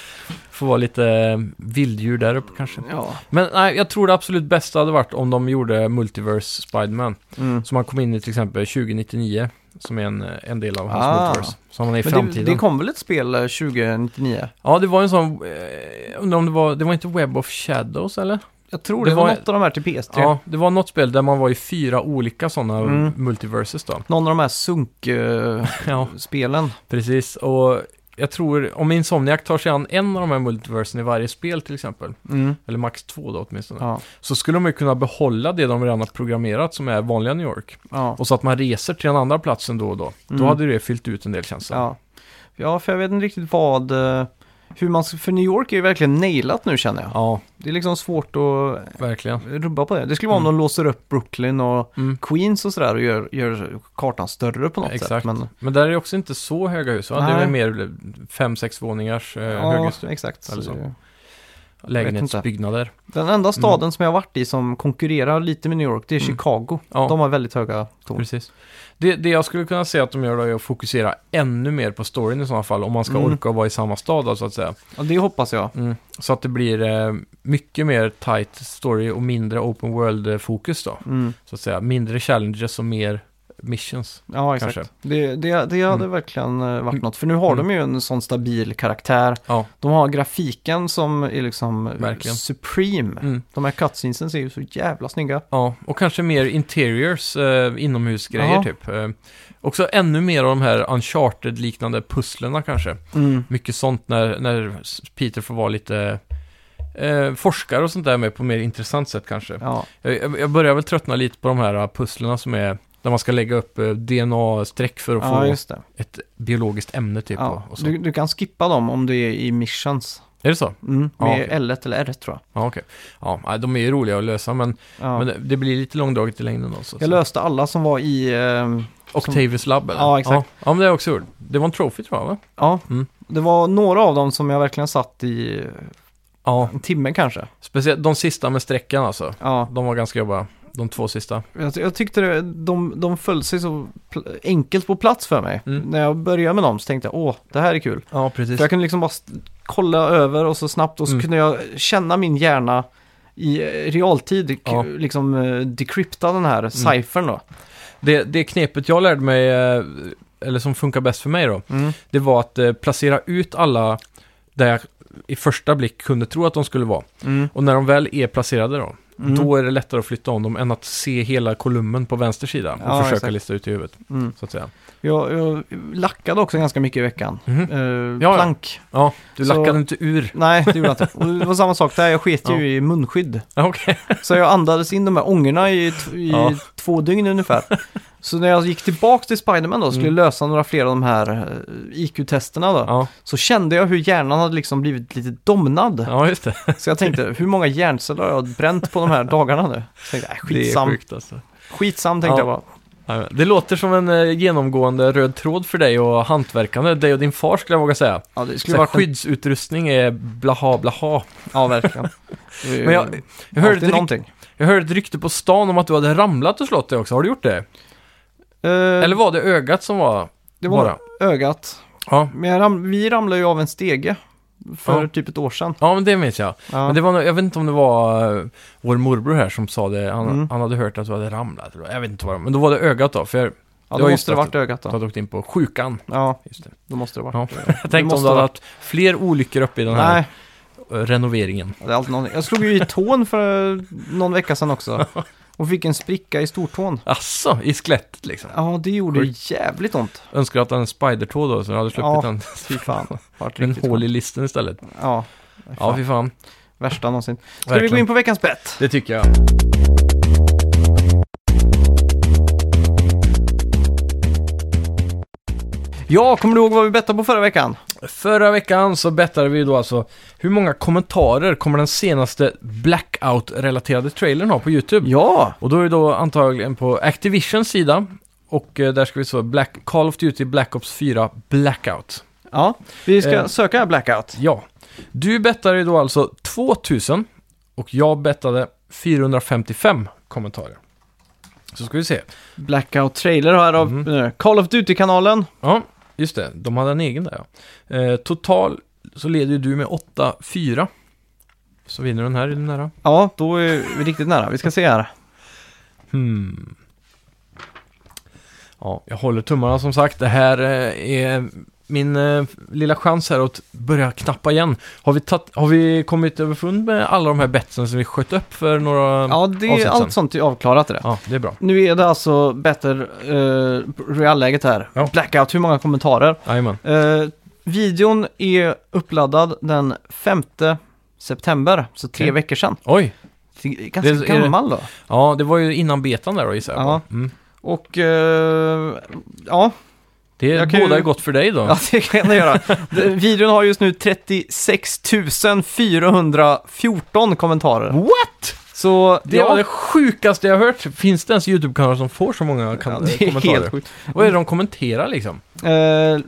Får vara lite eh, vilddjur där uppe kanske.
Ja.
Men nej, jag tror det absolut bästa hade varit om de gjorde Multiverse Spiderman.
Mm.
Så man kom in i till exempel 2099. Som är en, eh, en del av hans
Ah.
multiverse. Så man är i
Men det,
framtiden.
det kom väl ett spel eh, 2099?
Ja, det var en sån, eh, undrar om det var, det var inte Web of Shadows eller?
Jag tror
Det
det, var,
var-
något av de här till PS3.
Ja, det var något spel där man var i fyra olika sådana
Mm.
multiverses då.
Någon av de här eh, sunk-spelen.
Ja, [LAUGHS] precis. Och jag tror, om Insomniac tar sig an en av de här multiversen i varje spel till exempel,
Mm.
eller max två då åtminstone,
Ja.
så skulle de ju kunna behålla det de redan har programmerat som är vanliga New York.
Ja.
Och så att man reser till den andra platsen då och då. Då
Mm.
hade det fyllt ut en del känns det.
Ja. ja, för jag vet inte riktigt vad... eh, Hur man, ska- för New York är ju verkligen nailat nu känner jag.
ja,
Det är liksom svårt att
verkligen.
rubba på det. Det skulle vara om de låser upp Brooklyn och
Mm.
Queens och sådär och gör, gör kartan större på något
Exakt.
sätt. Men,
Men där är det också inte så höga hus va? Det är väl
Nej.
mer fem, sex våningars eh,
ja,
höghus.
exakt.
Eller så.
Vet
lägenhetsbyggnader.
Den enda staden som jag har varit i som konkurrerar lite med New York, det är
Mm.
Chicago.
Ja.
De har väldigt höga torn.
Precis. Det, det jag skulle kunna säga att de gör då är att fokusera ännu mer på storyn i sådana fall, om man ska
Mm.
orka vara i samma stad då, så att säga.
Ja, det hoppas jag.
Mm. Så att det blir eh, mycket mer tight story och mindre open world-fokus då,
Mm.
så att säga. Mindre challenges och mer missions.
Ja, exakt.
Kanske.
Det, det, det hade
Mm.
verkligen eh,
Mm.
varit något. För nu har
Mm.
de ju en sån stabil karaktär.
Ja,
De har grafiken som är liksom eh,
Verkligen.
supreme.
mm.
De här cutscenesen ser ju så jävla snygga.
ja. och kanske mer interiors, eh, inomhusgrejer
Ja.
typ. Eh, också ännu mer av de här uncharted-liknande pusslerna kanske. mycket sånt när, när Peter får vara lite eh, forskare och sånt där med på mer intressant sätt kanske.
Ja.
Jag, jag börjar väl tröttna lite på de här eh, pusslerna som är där man ska lägga upp eh, DNA-streck för att
ja,
få
just det.
ett biologiskt ämne typ.
Ja,
Och, och så.
du, du kan skippa dem om du är i missions.
Är det så?
Mm,
Ja,
med
okej.
L1 eller R tror jag.
Ja, okej. Ja, nej, de är ju roliga att lösa men,
Ja.
men det, det blir lite långdraget i längden då. Så,
jag löste alla som var i... ehm,
Octavius Lab eller?
Ja, exakt.
Ja, ja men det har jag också gjort. Det var en trophy tror jag va?
ja,
Mm.
det var några av dem som jag verkligen satt i eh,
Ja,
en timme kanske.
speciellt de sista med strecken alltså.
Ja,
De var ganska jobbiga, de två sista.
jag, jag tyckte det, de, de föll sig så pl- enkelt på plats för mig.
Mm.
När jag började med dem så tänkte jag, åh, det här är kul.
Ja, precis.
För jag kunde liksom bara st- kolla över och så snabbt och så
Mm.
kunde jag känna min hjärna i eh, realtid, k-
Ja. Mm.
liksom eh, decrypta den här ciphern då.
Det, det knepet jag lärde Mm. mig, eh, eller som funkar bäst för mig då, det var att eh, placera ut alla där jag i första blick kunde tro att de skulle vara.
Mm.
Och när de väl är placerade då,
Mm.
då är det lättare att flytta om dem än att se hela kolumnen på vänster sida och
Ja,
försöka
exakt.
lista ut i huvudet,
Mm.
så att säga.
Jag, jag lackade också ganska mycket i veckan.
Mhm.
Eh,
Ja, ja.
plank.
Ja, du
Så-
lackade inte ur.
Nej, det gjorde jag inte. Och det var samma sak där, jag sket ju
Ja.
i munskydd.
Ja,
[LAUGHS]
Okej.
Så jag andades in de här ångorna i, t- i
Ja.
två dygn ungefär. Så när jag gick tillbaka till Spiderman då, och skulle
Mm.
lösa några fler av de här eh, IQ-testerna då,
Ja.
så kände jag hur hjärnan hade liksom blivit lite domnad.
ja, just det.
Så jag tänkte, hur många hjärnceller har jag bränt på de här dagarna nu? Så tänkte jag, äh, skitsam,
Det är sjukt alltså.
skitsam tänkte
Ja.
jag bara.
Ja, men Det låter som en eh, genomgående röd tråd för dig och hantverkande, dig och din far skulle jag våga säga.
Ja, det skulle
Så här,
vara skit.
skyddsutrustning är blaha blaha.
Ja, verkligen.
Men jag,
Eh,
jag, hörde ett
hörde
ryk,
någonting.
jag hörde ett rykte på stan om att du hade ramlat och slått dig också, har du gjort det? Eller
Eller
var det ögat som var
Eh. det var
bara?
ögat.
Ja.
Men jag ram, vi ramlade ju av en stege för
Ja.
typ ett år sedan.
ja, men det minns jag.
Ja.
Men det var, nog- jag vet inte om det var eh, vår morbror här som sa det, han,
Mm.
han hade hört att du hade ramlat. eller vad. Jag vet inte vad det var, men då var det ögat då, för jag
ja,
det
då
var just
måste det
att-
varit ögat
hade
då.
åkt in på sjukan.
Ja,
Just det.
då måste Mm. det varit.
Ja. [LAUGHS] Jag tänkte om
måste
du hade
ha
haft fler olyckor uppe i den här
Nej,
eh, renoveringen.
det är alltid någonting. Jag slog ju i tån för eh, någon vecka
[LAUGHS]
sedan också. Och fick en spricka i stortån.
Asså, i skelettet liksom.
Ja, det gjorde jävligt ont.
Önskar att den hade en spidertå då, så du hade
Ja,
sluppit en
Fy fan. Vart
en
riktigt
hål i listen istället.
skönt. Ja,
Ja, fy fan.
värsta någonsin. Ska vi gå
Verkligen.
in på veckans bett?
Det tycker jag.
Ja, kommer du ihåg vad vi bettade på förra veckan?
Förra veckan så bettade vi då alltså hur många kommentarer kommer den senaste Blackout-relaterade trailern ha på YouTube?
Ja!
Och då är det då antagligen på Activisions sida. Och eh, där ska vi så Black, Call of Duty Black Ops 4 Blackout.
Ja, vi ska
Eh.
söka här Blackout.
Ja. Du bettade ju då alltså 2000 och jag bettade 455 kommentarer. Så ska vi se.
Blackout trailer här av
Mhm.
nu, Call of Duty-kanalen.
Ja, just det. De hade en egen där ja. Eh, total så leder ju du med 8-4. Så vinner den här, är du nära?
Ja, då är vi riktigt nära. Vi ska se här.
Hmm. Ja, jag håller tummarna som sagt. Det här eh, är min eh, lilla chans här att börja knappa igen. Har vi, tatt, har vi kommit överfund med alla de här betsen som vi sköt upp för några...
Ja, det är
avsnitt sen.
allt sånt är avklarat det.
Ja, det är bra.
Nu är det alltså Battle uh, Royale-läget här.
Ja.
Blackout, hur många kommentarer?
Jajamän.
Eh, videon är uppladdad den 5 september, så tre
Okej.
veckor sedan.
Oj!
Det är Ganska
Det är- är det-
gammal då.
Ja, det var ju innan betan där då gissar jag på.
Ja.
mm.
Och eh, ja,
Det är
Jag kan ju-
båda är gott för dig då.
ja, det kan jag göra. Det- Videon har just nu 36 414 kommentarer.
What?
Så
Oh. Det
ja,
var det sjukaste jag hört. Finns det ens YouTube-kanaler som får så många kan-
ja, det
[LAUGHS]
är
kommentarer?
helt sjukt.
Vad är det de kommenterar liksom?
Eh,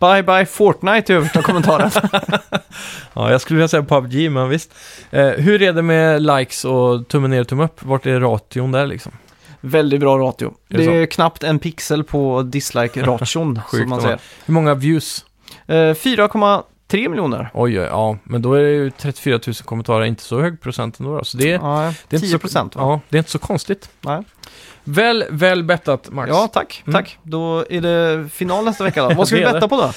bye bye Fortnite i översta kommentaren.
[LAUGHS] Ja, jag skulle vilja säga PubG, men visst. Eh, hur är det med likes och tummen ner och tummen upp? Vart är ration där liksom?
Väldigt bra ratio.
Är det
Det är knappt en pixel på dislike-ration, som
[LAUGHS] Sjukt,
man
va?
säger.
Hur många views?
Eh, 4,3 miljoner.
Oj, oj, ja. Men då är det ju 34 000 kommentarer, inte så hög procent ändå. då. Så det är,
Ja,
det är
10
inte så,
procent va?
ja, det är inte så konstigt.
Nej.
Väl, väl bettat, Max.
Ja, tack.
Mm.
tack. Då är det final nästa
[LAUGHS]
vecka då. Vad ska vi
Det är
betta
det.
på då?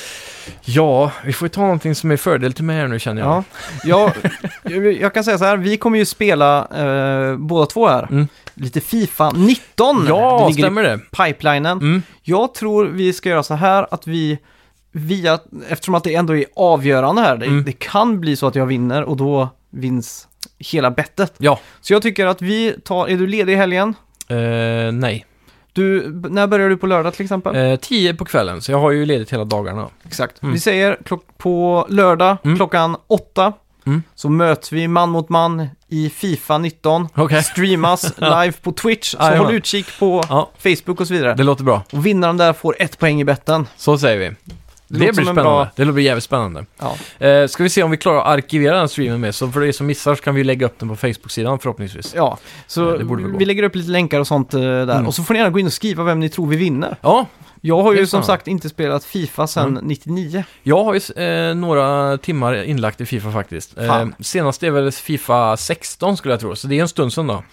Ja, vi får ju ta någonting som är fördel till mig här nu känner jag.
Ja. Ja, jag, jag kan säga så här, vi kommer ju spela eh, båda två här.
Mm.
Lite Fifa 19
ja
det ligger
stämmer det?
i pipelinen.
Mm.
Jag tror vi ska göra så här att vi, via, eftersom att det ändå är avgörande här, det,
Mm.
det kan bli så att jag vinner och då vinns hela bettet.
Ja,
Så jag tycker att vi tar, är du ledig i helgen?
eh, nej.
Du, b- när börjar du på lördag till exempel?
Eh, 10 på kvällen, så jag har ju ledigt hela dagarna.
Exakt.
Mm.
Vi säger klock, på lördag
Mm.
klockan åtta
Mm.
så möts vi man mot man i Fifa 19.
Okej. [LAUGHS]
Streamas live på Twitch, så
Jajamän.
håll utkik på
Ja,
Facebook och så vidare.
det låter bra.
Och vinnaren där får ett poäng i betten.
Så säger vi. Det,
låter
blir
som en
spännande.
bra-
Det blir jävligt spännande.
Ja.
Eh, ska vi se om vi klarar att arkivera den streamen med, så för er som missar så kan vi lägga upp den på Facebook-sidan förhoppningsvis.
Ja, så
Ja, det borde väl gå.
vi lägger upp lite länkar och sånt eh, där.
Mm.
Och så får ni gärna gå in och skriva vem ni tror vi vinner.
Ja,
Jag har
Det Mm.
ju
är
som
fan.
sagt inte spelat Fifa sedan 99.
Jag har ju eh, några timmar inlagt i Fifa faktiskt. Eh,
Fan.
senast är väl Fifa 16 skulle jag tro, så det är en stund sedan då.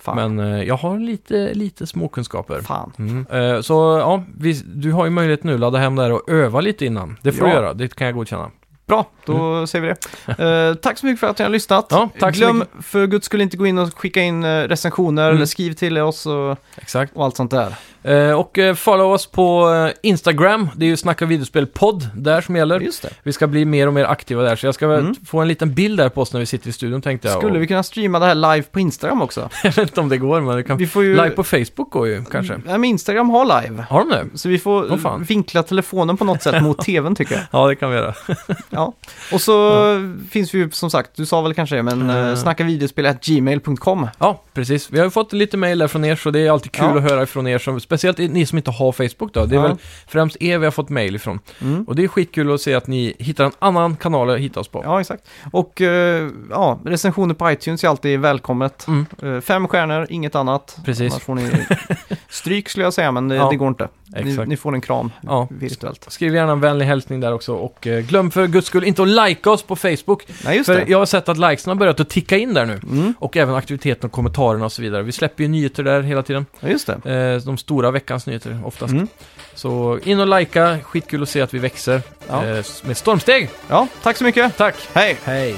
Fan.
Men eh, jag har lite, lite småkunskaper.
Fan.
Mm. Eh, så ja, vi, du har ju möjlighet nu att ladda hem där och öva lite innan. Det får
Ja.
du göra, det kan jag godkänna.
Bra, då säger vi det. Eh, tack så mycket för att ni har lyssnat.
Mm. Ja, tack så
Glöm
mycket.
för guds skull inte gå in och skicka in eh, recensioner
Mm.
eller skriv till oss och,
Exakt.
och allt sånt där.
Eh, och eh, follow oss på eh, Instagram, det är ju Snacka videospel podd där som gäller.
Just det.
Vi ska bli mer och mer aktiva där, så jag ska väl
Mm.
få en liten bild där på oss när vi sitter i studion tänkte jag.
Skulle
och,
vi kunna streama det här live på Instagram också?
[LAUGHS] Jag vet inte om det går, men det kan...
Vi får ju...
Live på Facebook går ju kanske.
Nej, men Instagram har live.
Har de det?
Så vi får
Åh, fan.
vinkla telefonen på
[LAUGHS]
något sätt mot tvn tycker jag.
Ja, det kan vi göra.
Ja. Och så finns vi ju som sagt, du sa väl kanske det, men
Eh.
uh. snackavideospel.gmail.com.
Ja, precis. Vi har ju fått lite mejl där från er, så det är alltid kul
Ja.
att höra från er. Som, speciellt ni som inte har Facebook då. Det är
Ja.
väl främst er vi har fått mejl ifrån.
Mm.
Och det är skitkul att se att ni hittar en annan kanal att hitta oss på.
Ja, exakt. Och eh, ja, recensioner på iTunes är alltid välkommet.
Mm.
Eh, fem stjärnor, inget annat.
Precis.
Annars får ni [LAUGHS] stryk skulle jag säga, men det,
Ja,
det går inte. Ni,
exakt.
ni får en kram
Ja.
virtuellt.
Skriv gärna en vänlig hälsning där också och eh, glöm för guds skull inte att likea oss på Facebook.
Nej, just
För
det.
jag har sett att likesen har börjat att ticka in där nu.
Mm,
Och även aktiviteten och kommentarerna och så vidare. Vi släpper ju nyheter där hela tiden.
ja, just det.
Eh, de stora veckans nyheter oftast.
Mm.
Så in och likea, skitkul att se att vi växer
Ja.
eh, med stormsteg.
Ja, tack så mycket.
Tack!
Hej!
Hej!